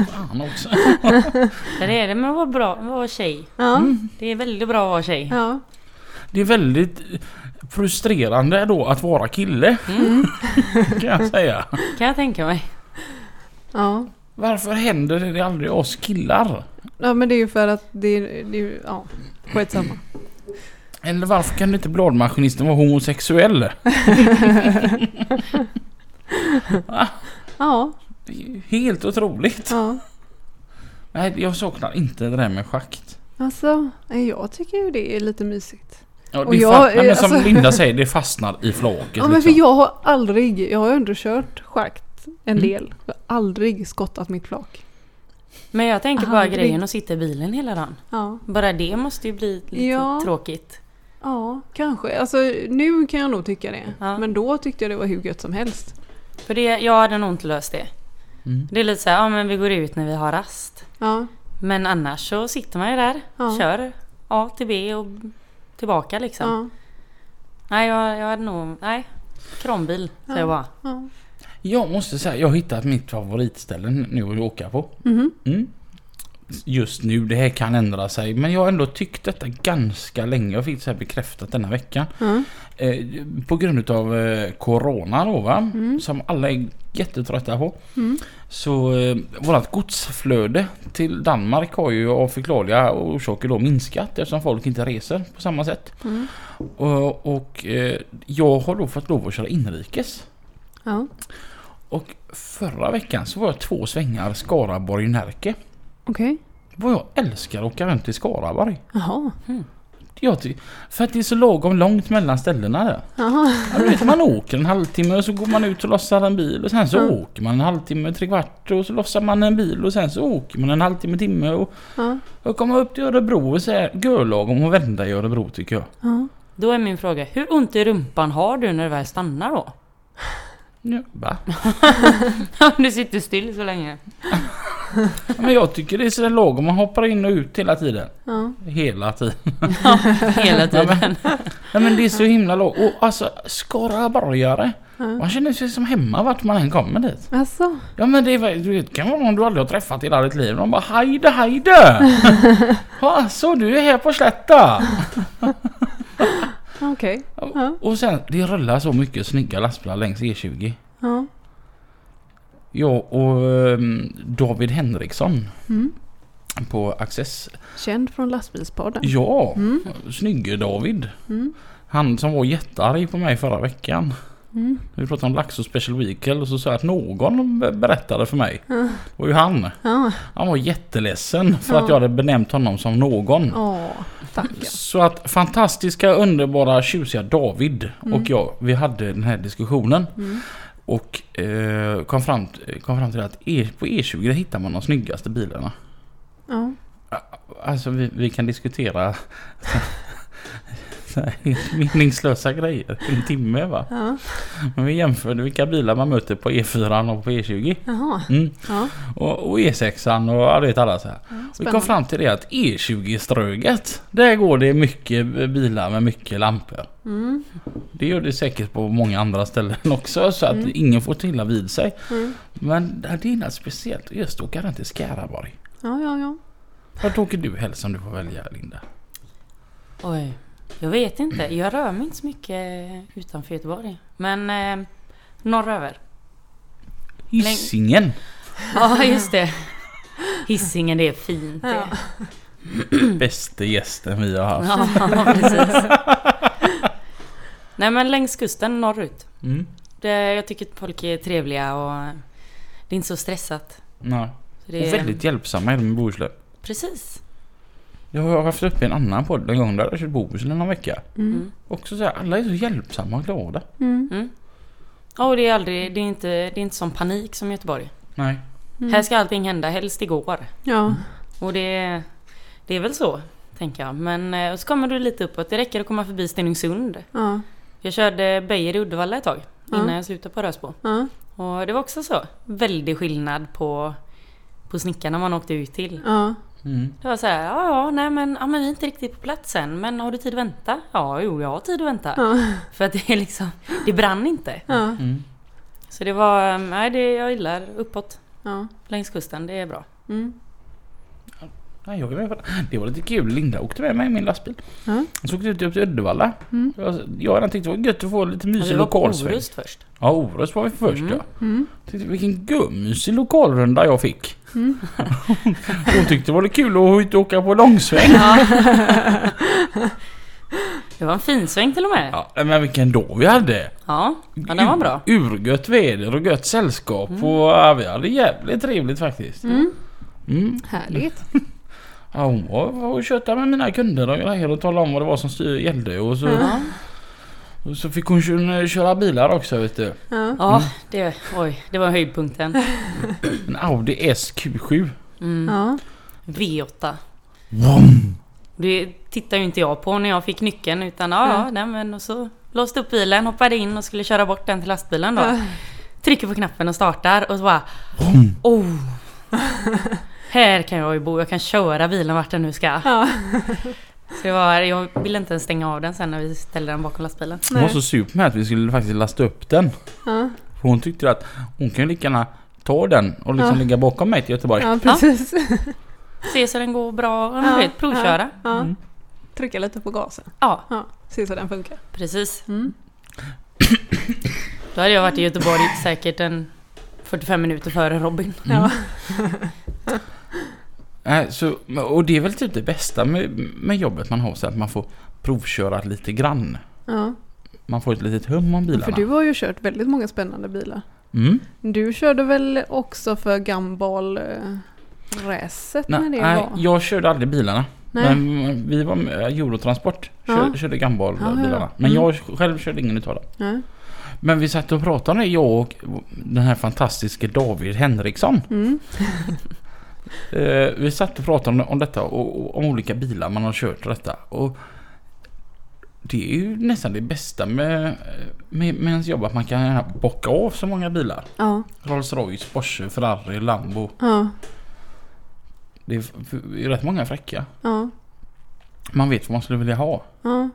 Fan också.
Ja, det är det med att vara bra, vara tjej.
Mm.
Ja.
Det är väldigt bra att vara tjej.
Ja.
Det är väldigt frustrerande då att vara kille. Kan jag säga.
Kan jag tänka mig.
Ja.
Varför händer det aldrig oss killar?
Ja, men det är ju för att det är... Det är ju- ja, skitsamma.
Eller varför kan inte bladmaskinisten vara homosexuell?
Ja.
Det är ju Helt otroligt.
Ja.
Nej, jag saknar inte det där med schakt.
Alltså, nej, jag tycker ju det är lite mysigt.
Ja,
Och
det
jag-
fastnar, men som
alltså-
Linda säger, det fastnar i flaket.
Ja, men för
liksom.
jag har aldrig... Jag har ju ändå kört schakt en del. Jag har aldrig skottat mitt flak.
Men jag tänker bara
Aldrig.
grejen att sitta i bilen hela dagen.
Ja.
Bara det måste ju bli lite
Ja.
tråkigt.
Ja, kanske. Alltså nu kan jag nog tycka det.
Ja.
Men då tyckte jag det var hur gött som helst.
För det, jag hade nog inte löst det.
Mm.
Det är lite så här, ja men vi går ut när vi har rast.
Ja.
Men annars så sitter man ju där,
Ja.
kör A till B och tillbaka liksom.
Ja.
Nej, jag, jag hade nog, nej. Kranbil, säger jag bara.
ja.
Jag måste säga, jag har hittat mitt favoritställe nu att åka på.
Mhm.
Mm. Just nu, det här kan ändra sig. Men jag har ändå tyckt detta ganska länge. Jag fick det så här bekräftat denna veckan.
Ja.
Eh, på grund utav eh, Corona då va? Som alla är jättetrötta på.
Mm.
Så eh, vårat godsflöde till Danmark har ju av förklarliga orsaker då minskat eftersom folk inte reser på samma sätt.
Mm.
Och, och eh, jag har då fått lov att köra inrikes.
Ja.
Och förra veckan så var jag två svängar Skaraborg-Närke.
Okej.
Vad jag älskar att åka runt i Skaraborg.
Jaha.
Jag ty- för att det är så lagom långt mellan ställena där.
Jaha.
Ja, du vet, man åker en halvtimme och så går man ut och lossar en bil och sen så
Mm.
åker man en halvtimme, tre kvart och så lossar man en bil och sen så åker man en halvtimme, timme och,
Ja.
och kommer upp till Örebro och så är görlagom att vända i Örebro tycker jag.
Ja.
Då är min fråga, hur ont i rumpan har du när du väl stannar då?
Ja, va?
du sitter still så länge.
Ja, Men jag tycker det är sådär lagom, man hoppar in och ut hela tiden.
Ja.
Hela tiden.
Hela tiden.
Nej men det är så himla lagom. Och alltså skaraborgare.
Ja.
Man känner sig som hemma vart man än kommer dit.
Alltså.
Ja men det är, väl- du vet, kan vara någon du aldrig har träffat i hela ditt liv. De bara hejde hejde! Ja, så du är här på slätta!
Okej. Ja.
Och sen, det rullar så mycket snygga lastbilar längs E E20.
Ja.
Jag och ehm, David Henriksson
Mm.
på Access.
Känd från lastbilspodden.
Ja,
Mm.
snygge David.
Mm.
Han som var jättearg på mig förra veckan.
Mm.
Vi pratade om Laxå Special Vehicle och så sa jag att någon be- berättade för mig.
Ja.
Det var ju han.
Ja.
Han var jätteledsen för att
Ja.
jag hade benämnt honom som någon.
Åh, stackarn.
Så att fantastiska, underbara, tjusiga David och jag, vi hade den här diskussionen.
Mm.
Och eh, kom, fram, kom fram till att E- på E20 där hittar man de snyggaste bilarna.
Ja.
Alltså vi, vi kan diskutera så här helt meningslösa grejer en timme va.
Ja.
Men vi jämförde vilka bilar man möter på E4 och på E20.
Jaha.
Mm.
Ja.
Och, och E6 och ja, du vet alla så här. Vi kom
Spännande.
fram till det att E20-ströget, där går det mycket bilar med mycket lampor.
Mm.
Det gör det säkert på många andra ställen också så att
Mm.
ingen får till illa vid sig.
Mm.
Men det är något speciellt just att åka runt till Skaraborg.
Ja, ja, ja.
Vart åker du helst om du får välja Linda?
Oj. Jag vet inte. Jag rör mig inte så mycket utanför Göteborg. Men eh, norröver.
Hisingen!
Ja, just det. Hisingen, det är fint det.
Bästa gästen vi har haft.
Ja, precis. Nej men längs kusten norrut.
Mm.
Det, jag tycker att folk är trevliga och det är inte så stressat.
Nej.
Så det
Och
är,
väldigt hjälpsamma är de i Bohuslän.
Precis.
Jag har haft uppe en annan podd en gång där jag kört Bohuslän någon vecka.
Mm.
Mm.
Också så här, alla är så hjälpsamma och glada.
Mm.
Mm. Och det är aldrig, det är inte, det är inte som panik som Göteborg.
Nej.
Mm.
Här ska allting hända, helst igår.
Ja.
Och det, det är väl så, tänker jag. Men eh, och så kommer du lite uppåt. Det räcker att komma förbi Stenungsund.
Ja.
Jag körde Beijer i Uddevalla ett tag
Ja.
innan jag slutade på Rösbo.
Ja.
Och det var också så. Väldig skillnad på, på snickarna man åkte ut till.
Ja.
Mm.
Det var så här, ja ja, nej men, ja, men vi är inte riktigt på plats än. Men har du tid att vänta? Ja, jo, jag har tid att vänta.
Ja.
För att det är liksom, det brann inte.
Ja.
Mm.
Så det var, um, nej det jag gillar uppåt
Ja.
längs kusten, det är bra.
Mm.
Nej, jag är med på det. det var lite kul. Linda åkte med mig i min lastbil.
Ja.
Så åkte vi upp till Uddevalla.
Mm.
Jag, jag hade tyckt det var gött att få lite
Men vi
mysig
var på
lokalsväng.
Orust först.
Ja, Orust var vi först
Mm.
ja.
Mm.
Tyckte, vilken gummysig lokalrunda jag fick.
Mm.
Hon tyckte det var lite kul att ut och åka på långsväng.
Det var en fin sväng till och med. Ja,
Ja, men vilken dag vi hade!
ja, den var bra. Mm.
Ur- Urgött väder och gött sällskap och ja, vi hade jävligt trevligt faktiskt.
Mm.
Mm.
Härligt.
Ja, hon var, var och tjötade med mina kunder och grejer och talade om vad det var som styr, gällde och så,
Ja,
och så fick hon köra, köra bilar också vet du.
Ja.
ja det, oj, det var höjdpunkten.
En Audi SQ7.
Mm.
Ja.
V8.
Vroom.
Det tittar ju inte jag på när jag fick nyckeln utan ja, ja, nej men och så låste upp bilen, hoppade in och skulle köra bort den till lastbilen då.
Ja.
Trycker på knappen och startar och så bara...
Vroom.
Oh! Här kan jag ju bo, jag kan köra bilen vart den nu ska.
Ja.
Så det var, jag ville inte ens stänga av den sen när vi ställde den bakom lastbilen.
Hon var
Nej.
så sur på mig att vi skulle faktiskt lasta upp den.
Ja.
För hon tyckte att hon kan ju lika gärna ta den och liksom
Ja.
ligga bakom mig till Göteborg.
Ja, precis.
Se så den går bra, ja,
Ja,
du vet, provköra. Ja.
Ja.
Mm.
Trycka lite på gasen. Se så den funkar.
precis.
Mm.
Då hade jag varit i Göteborg säkert en 45 minuter före Robin.
Ja.
Nej, Eh, så, och det är väl typ det bästa med, med jobbet man har så att man får provköra lite grann.
Ja.
Man får ett litet hum om bilarna.
För du har ju kört väldigt många spännande bilar.
mm.
Du körde väl också för gumball eh, racet när
nej,
det
nej,
var?
jag körde aldrig bilarna.
Nej.
Men vi var med, eh, Eurotransport
Ja.
körde, körde gambalbilarna.
Ja, ja, ja.
Men
Mm.
jag själv körde ingen utav dem.
Nej.
Men vi satt och pratade om det, jag och den här fantastiske David Henriksson.
Mm.
Eh, vi satt och pratade om, om detta och, och om olika bilar man har kört och detta. Och det är ju nästan det bästa med, med, med ens jobb, att man kan bocka av så många bilar.
Ja.
Rolls Royce, Porsche, Ferrari, Lambo.
Ja.
Det är, f- f- det är rätt många fräcka.
Ja.
Man vet vad man skulle vilja ha.
Ja.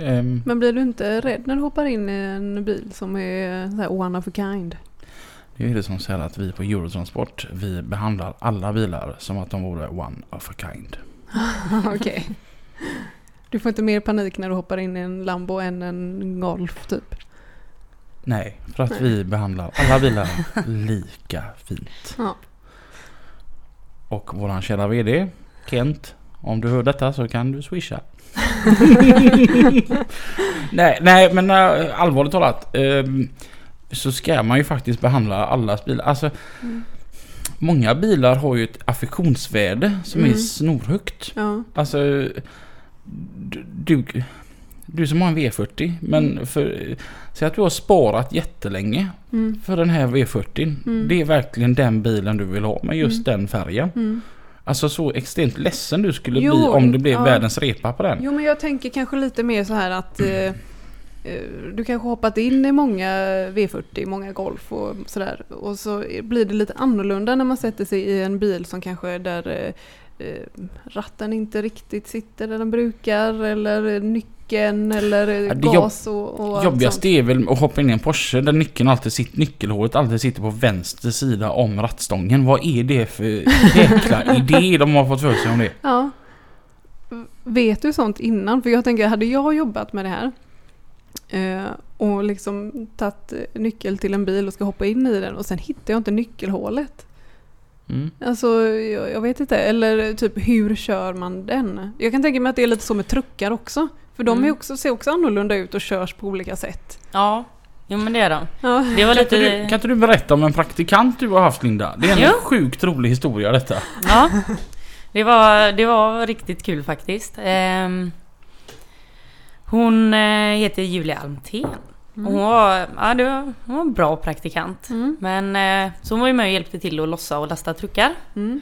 Ehm,
Men blir du inte rädd när du hoppar in i en bil som är eh, så här one of a kind?
det är det som säger att vi på Eurotransport, vi behandlar alla bilar som att de vore one of a kind.
Okej. Du får inte mer panik när du hoppar in i en Lambo än en Golf typ?
Nej, för att vi behandlar alla bilar lika fint.
Ja.
Och våran kära VD, Kent, om du hör detta så kan du swisha. nej, nej, men eh, allvarligt talat. ehm, så ska man ju faktiskt behandla allas bilar. Alltså,
Mm.
många bilar har ju ett affektionsvärde som är
Mm.
snorhögt.
Ja.
Alltså, du, du, du som har en V40, men för, säg att du har sparat jättelänge
Mm.
för den här V40.
Mm.
Det är verkligen den bilen du vill ha med just den färgen.
Mm.
Alltså så extremt ledsen du skulle
Jo,
bli om det blev
ja.
världens repa på den.
Jo men jag tänker kanske lite mer så här att eh, eh, du kanske hoppat in i många V40, många Golf och sådär. Och så blir det lite annorlunda när man sätter sig i en bil som kanske där eh, eh, ratten inte riktigt sitter där den brukar eller nyckeln eller
Ja, det jobb-
gas och, och allt
Jobbigast är väl att hoppa in i en Porsche där nyckeln alltid sitter, nyckelhålet alltid sitter på vänster sida om rattstången. Vad är det för jäkla idé de har fått för sig om det?
Ja. V- Vet du sånt innan? För jag tänker, hade jag jobbat med det här eh, och liksom tagit eh, nyckel till en bil och ska hoppa in i den och sen hittar jag inte nyckelhålet.
Mm.
Alltså, jag, jag vet inte. Eller typ, hur kör man den? Jag kan tänka mig att det är lite så med truckar också. För de är
Mm.
också, ser också annorlunda ut och körs på olika sätt.
Ja, jo men det är de.
Ja.
Det var
Kan, inte du,
lite...
kan inte du berätta om en praktikant du har haft Linda? Det är en
Ja.
sjukt rolig historia detta.
Ja, det var, det var riktigt kul faktiskt. Ehm, hon eh, heter Julia Almtén. Och Hon, var, ja, det var, hon var en bra praktikant.
Mm.
Men, eh, så hon var ju med och hjälpte till att lossa och lasta truckar.
Mm.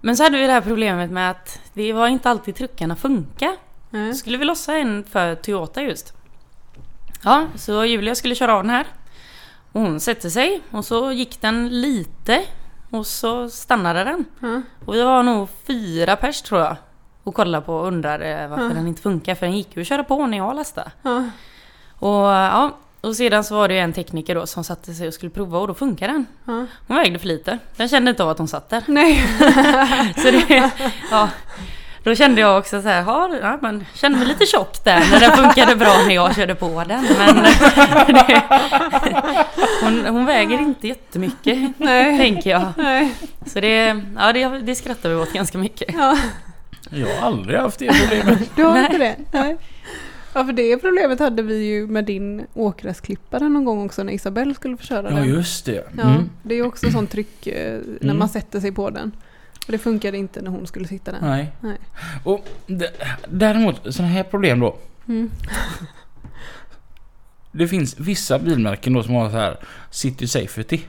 Men så hade vi det här problemet med att det var inte alltid truckarna funkar.
Nej.
Så skulle vi lossa en för Toyota just. Ja, så Julia skulle köra av den här. Och hon sätter sig och så gick den lite och så stannade den.
Ja.
Och vi var nog fyra pers tror jag. Och kollade på och undrade varför
Ja.
den inte funkar för den gick ju att köra på när jag lastade.
Ja.
Och, eh, ja, och sedan så var det ju en tekniker då som satte sig och skulle prova och då funkade den.
Ja.
Hon vägde för lite. Den kände inte av att hon satt där.
Nej.
Så det, ja. Då kände jag också så här, "Ja, ja, men kände mig lite tjock där när den funkade bra när jag körde på den. Men det, hon, hon väger inte jättemycket,
Nej.
tänker jag.
Nej.
Så det, ja, det, det skrattar vi åt ganska mycket.
Ja.
Jag har aldrig haft det problemet.
Du har inte det? Nej. Ja, för det problemet hade vi ju med din åkgräsklippare någon gång också när Isabelle skulle få köra
Ja
den.
just det.
Ja,
Mm.
Det är ju också sånt tryck eh, när
Mm.
man sätter sig på den. Och det funkade inte när hon skulle sitta där.
Nej.
Nej.
Och d- däremot sådana här problem då.
Mm.
Det finns vissa bilmärken då som har så här City Safety.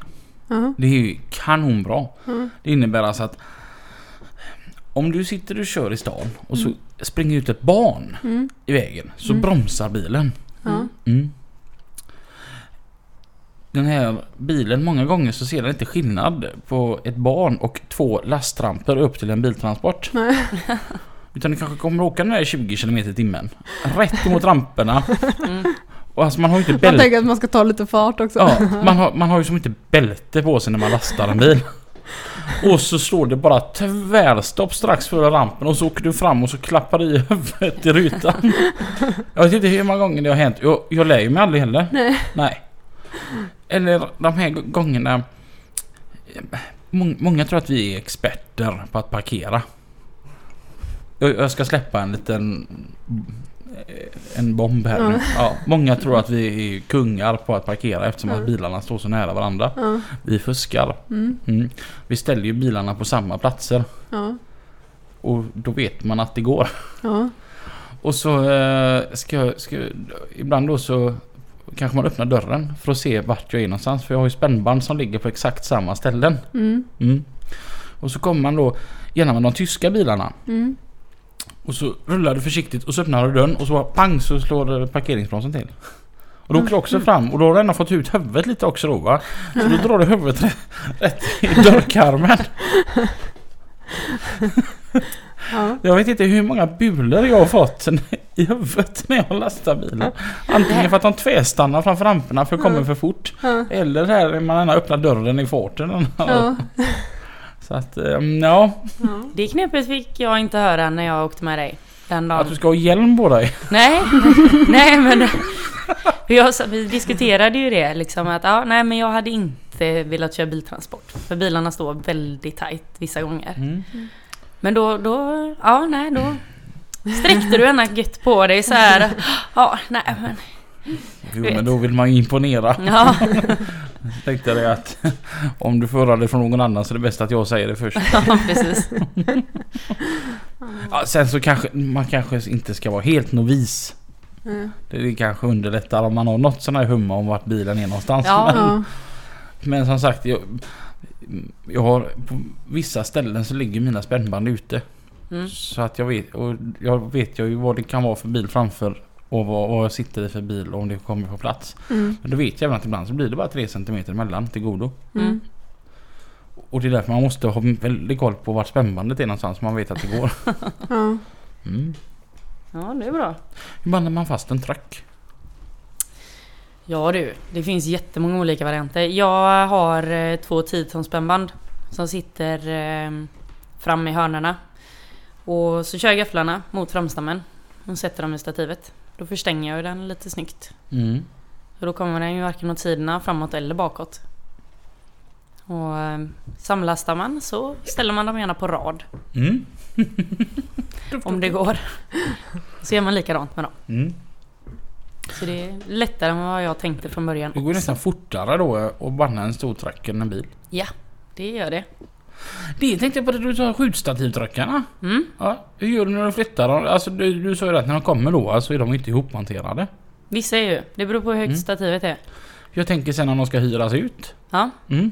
Ja.
Det är ju kanonbra.
Mm.
Det innebär alltså att om du sitter och kör i stan och så springer ut ett barn
Mm.
i vägen så
Mm.
bromsar bilen.
Ja.
Mm. Den här bilen, många gånger så ser den inte skillnad på ett barn och två lasttramper upp till en biltransport.
Nej.
Utan du kanske kommer åka den här 20 km i timmen. Rätt emot ramperna.
Mm.
Och alltså man har ju inte
Man
bälte.
tänker att man ska ta lite fart också.
Ja, man har, man har ju som inte bälte på sig när man lastar en bil. Och så slår det bara tvärstopp strax före rampen och så åker du fram och så klappar du i huvudet i rutan. Jag vet inte hur många gånger det har hänt. Jag, jag lär ju mig aldrig heller.
Nej.
Nej. Eller de här gångerna... Mång- Många tror att vi är experter på att parkera. Jag jag ska släppa en liten... eh, En bomb här nu.
Mm.
Ja, många tror att vi är kungar på att parkera eftersom att
Mm.
bilarna står så nära varandra.
Ja.
Vi fuskar.
Mm.
Mm. Vi ställer ju bilarna på samma platser.
Ja.
Och då vet man att det går.
Ja.
Och så eh, ska jag... Ska, jag- ibland då så kanske man öppnar dörren för att se vart jag är någonstans. För jag har ju spännband som ligger på exakt samma ställen.
Mm.
Mm. Och så kommer man då gärna med de tyska bilarna.
Mm.
Och så rullar du försiktigt och så öppnar du dörren och så bara pang så slår parkeringsbromsen till. Och då åker du också fram och då har du ändå fått ut huvudet lite också då va? Så då drar du huvudet rätt, rätt i dörrkarmen.
Ja.
Jag vet inte hur många bulor jag har fått i huvudet när jag lastar bilen. Antingen för att de tvärstannar framför ramperna för jag kommer för fort.
Ja.
Eller så här man gärna öppnar dörren i farten.
Ja.
Så att ehm, ja,
Ja.
Det knepet fick jag inte höra när jag åkte med dig. Den dagen.
att du ska ha hjälm på dig.
Nej, nej men... För jag, sa- vi diskuterade ju det liksom att ja, nej men jag hade inte velat köra biltransport. För bilarna står väldigt tajt vissa gånger.
Mm.
Men då, då, ja nej då sträckte du ena gött på dig så här. Ja, nej men...
Jo
Vet.
men då vill man ju imponera.
Ja,
Tänkte det att om du får höra det från någon annan så är det bäst att jag säger det först.
ja precis.
Ja, sen så kanske man kanske inte ska vara helt novis.
Ja.
Det är kanske underlättar om man har något sån här humma om vart bilen är någonstans.
Ja.
Ja.
Men som sagt, jag, jag har, på vissa ställen så ligger mina spännband ute.
Mm.
Så att jag vet, och jag vet jag ju vad det kan vara för bil framför och vad, vad jag sitter i för bil och om det kommer på plats.
Mm.
Men då vet jag även att ibland så blir det bara 3 cm emellan till godo.
Mm.
Mm.
Och det är därför man måste ha väldigt koll på vart spännbandet är någonstans så man vet att det går.
Ja.
Mm.
Ja, det är bra.
Hur bandar man fast en track?
Ja du, det finns jättemånga olika varianter. Jag har eh, två 10 tons spännband som sitter eh, fram i hörnerna. Och så kör jag gafflarna mot framstammen och sätter dem i stativet. Då förstänger jag ju den lite snyggt.
Mm.
Och då kommer den ju varken åt sidorna, framåt eller bakåt. Och eh, samlastar man så ställer man dem gärna på rad
Mm.
om det går. Så gör man likadant med dem.
Mm.
Så det är lättare än vad jag tänkte från början.
Det går nästan fortare då att banda en stor track än en bil.
Ja, det gör det.
Det tänkte jag på det du sa, skjutstativtrackarna.
Mm.
Ja, hur gör du när du flyttar dem? Alltså du, du sa ju att när de kommer då alltså är de inte ihopmonterade.
Vissa är ju. Det beror på hur
Mm.
högt stativet är.
Jag tänker sen om de ska hyras ut.
Ja,
Mm.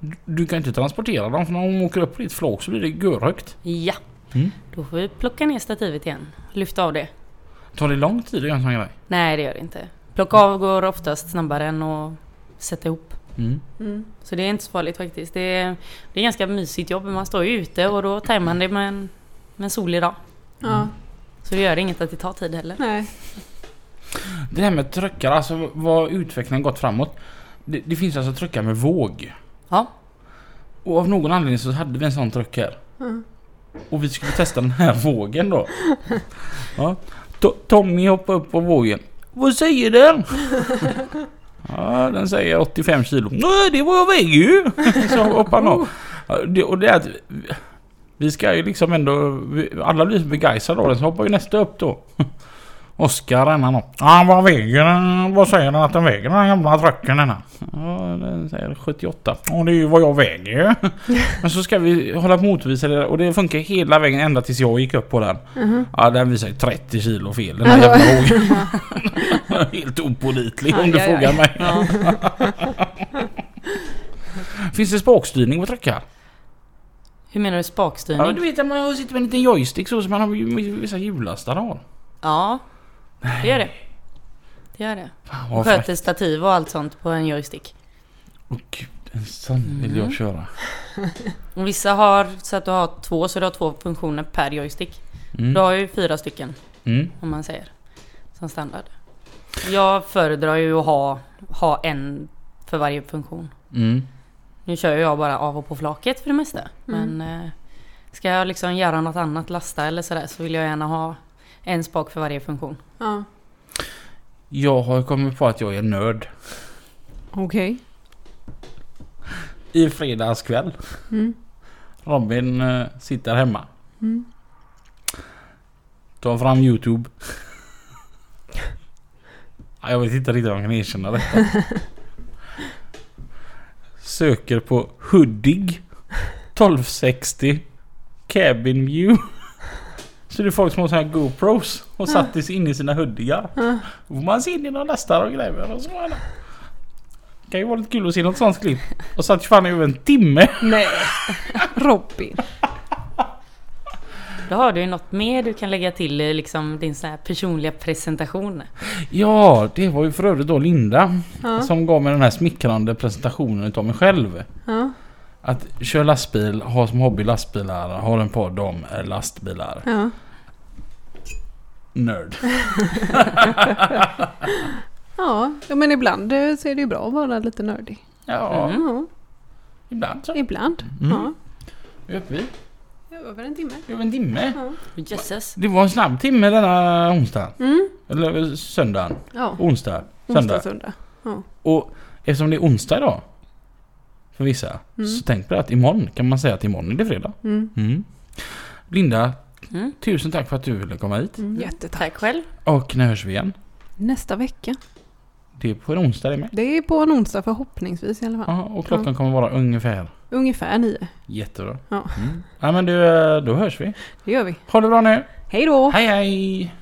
Du, du kan inte transportera dem för när de åker upp på ditt flak så blir det görhögt.
ja.
Mm.
Då får vi plocka ner stativet igen. Lyfta av det.
Tar det lång tid att göra en sån grej?
Nej, det gör det inte. Plocka av går oftast snabbare än att sätta ihop.
Mm.
Mm.
Så det är inte så farligt faktiskt. Det är, det är ganska mysigt jobb. Man står ju ute och då tajmar man det med en, med en solig dag.
Ja.
Så det gör det inget att det tar tid heller.
Nej.
Det här med truckar, alltså vad utvecklingen gått framåt. Det, det finns alltså truckar med våg.
Ja.
Och av någon anledning så hade vi en sån truck här.
Mm.
Och vi skulle testa den här vågen då. Ja. To- Tommy hoppade upp på vågen. Vad säger den? Ja, den säger 85 kilo. Nej, det var jag väger ju! Så hoppade han av. Ja, det- Och det är att vi- vi ska ju liksom ändå... vi- Alla blir så begeistrade av den så hoppar ju nästa upp då. Oskar den han upp. Ja, vad väger den? Vad säger den att den väger den här jävla trucken den här? Ja, den säger 78. Och det är ju vad jag väger ju. Men så ska vi hålla på och motvisa det och det funkar hela vägen ända tills jag gick upp på den.
Mhm.
Ja den visar ju 30 kilo fel Mm. den här jävla vågen. Helt opålitlig om du
Aj, aj, aj.
frågar mig.
ja.
Finns det spakstyrning på truckar?
Hur menar du
Ja men
spakstyrning?
du vet att man sitter med en liten joystick så som man har ju vissa hjullastare har.
Ja, det gör det. Det gör det.
Fan, vad fräckt.
Sköter stativ och allt sånt på en joystick.
Åh gud en sån vill
Mm.
jag köra.
Och vissa har så att du har två, så du har två funktioner per joystick. Du
Mm.
har ju fyra stycken
Mm.
om man säger. Som standard. Jag föredrar ju att ha, ha en för varje funktion.
Mm.
Nu kör ju jag bara av och på flaket för det mesta. Men eh, ska jag liksom göra något annat, lasta eller sådär, så vill jag gärna ha en spak för varje funktion.
Ja.
Jag har kommit på att jag är nörd.
Okej.
I fredags kväll.
Mm.
Robin eh, sitter hemma.
Mm.
Ta fram Youtube. Ja, Jag vet inte riktigt om jag kan erkänna det. Söker på Hudig 1260 cabin view. Så det är folk som har såna här GoPros och satt i inne i sina hoodigar.
Ja.
Då får man se in i några lastar och grejer och så var det. Det kan ju vara lite kul att se något sånt klipp. Och satt ju fan i över en timme.
Nej. Robin.
Då har du ju något mer du kan lägga till i liksom din så här personliga presentation.
Ja, det var ju för övrigt då Linda
Ja.
som gav mig den här smickrande presentationen utav mig själv.
Ja.
Att köra lastbil, ha som hobby lastbilar, har en podd om eh, lastbilar.
Ja.
Nörd.
Ja. ja, men ibland eh, så är det ju bra att vara lite nördig.
Ja,
Mm.
Ja,
ibland så.
ibland.
Mm.
Ja.
Vi är uppe i
Över en timme.
över en timme.
Ja.
Jösses.
Det var en snabb timme denna onsdag.
Mm.
Eller eh, söndagen.
Ja.
Onsdag. Söndag.
Onsdag, söndag.
Och eftersom det är onsdag idag. För vissa.
Mm.
Så tänk på det att imorgon kan man säga att imorgon är det fredag.
Mm.
Mm. Linda,
Mm.
tusen tack för att du ville komma hit.
Mm. Jättetack.
Tack själv.
Och när hörs vi igen?
Nästa vecka.
Det är på en onsdag det med.
Det är på en onsdag förhoppningsvis i alla fall.
Ja, och klockan kommer vara ungefär.
Ungefär nio.
Jättebra.
Ja.
Mm. Ja men du, eh, då hörs vi.
Det gör vi.
Ha det bra nu.
Hej då!
Hej hej!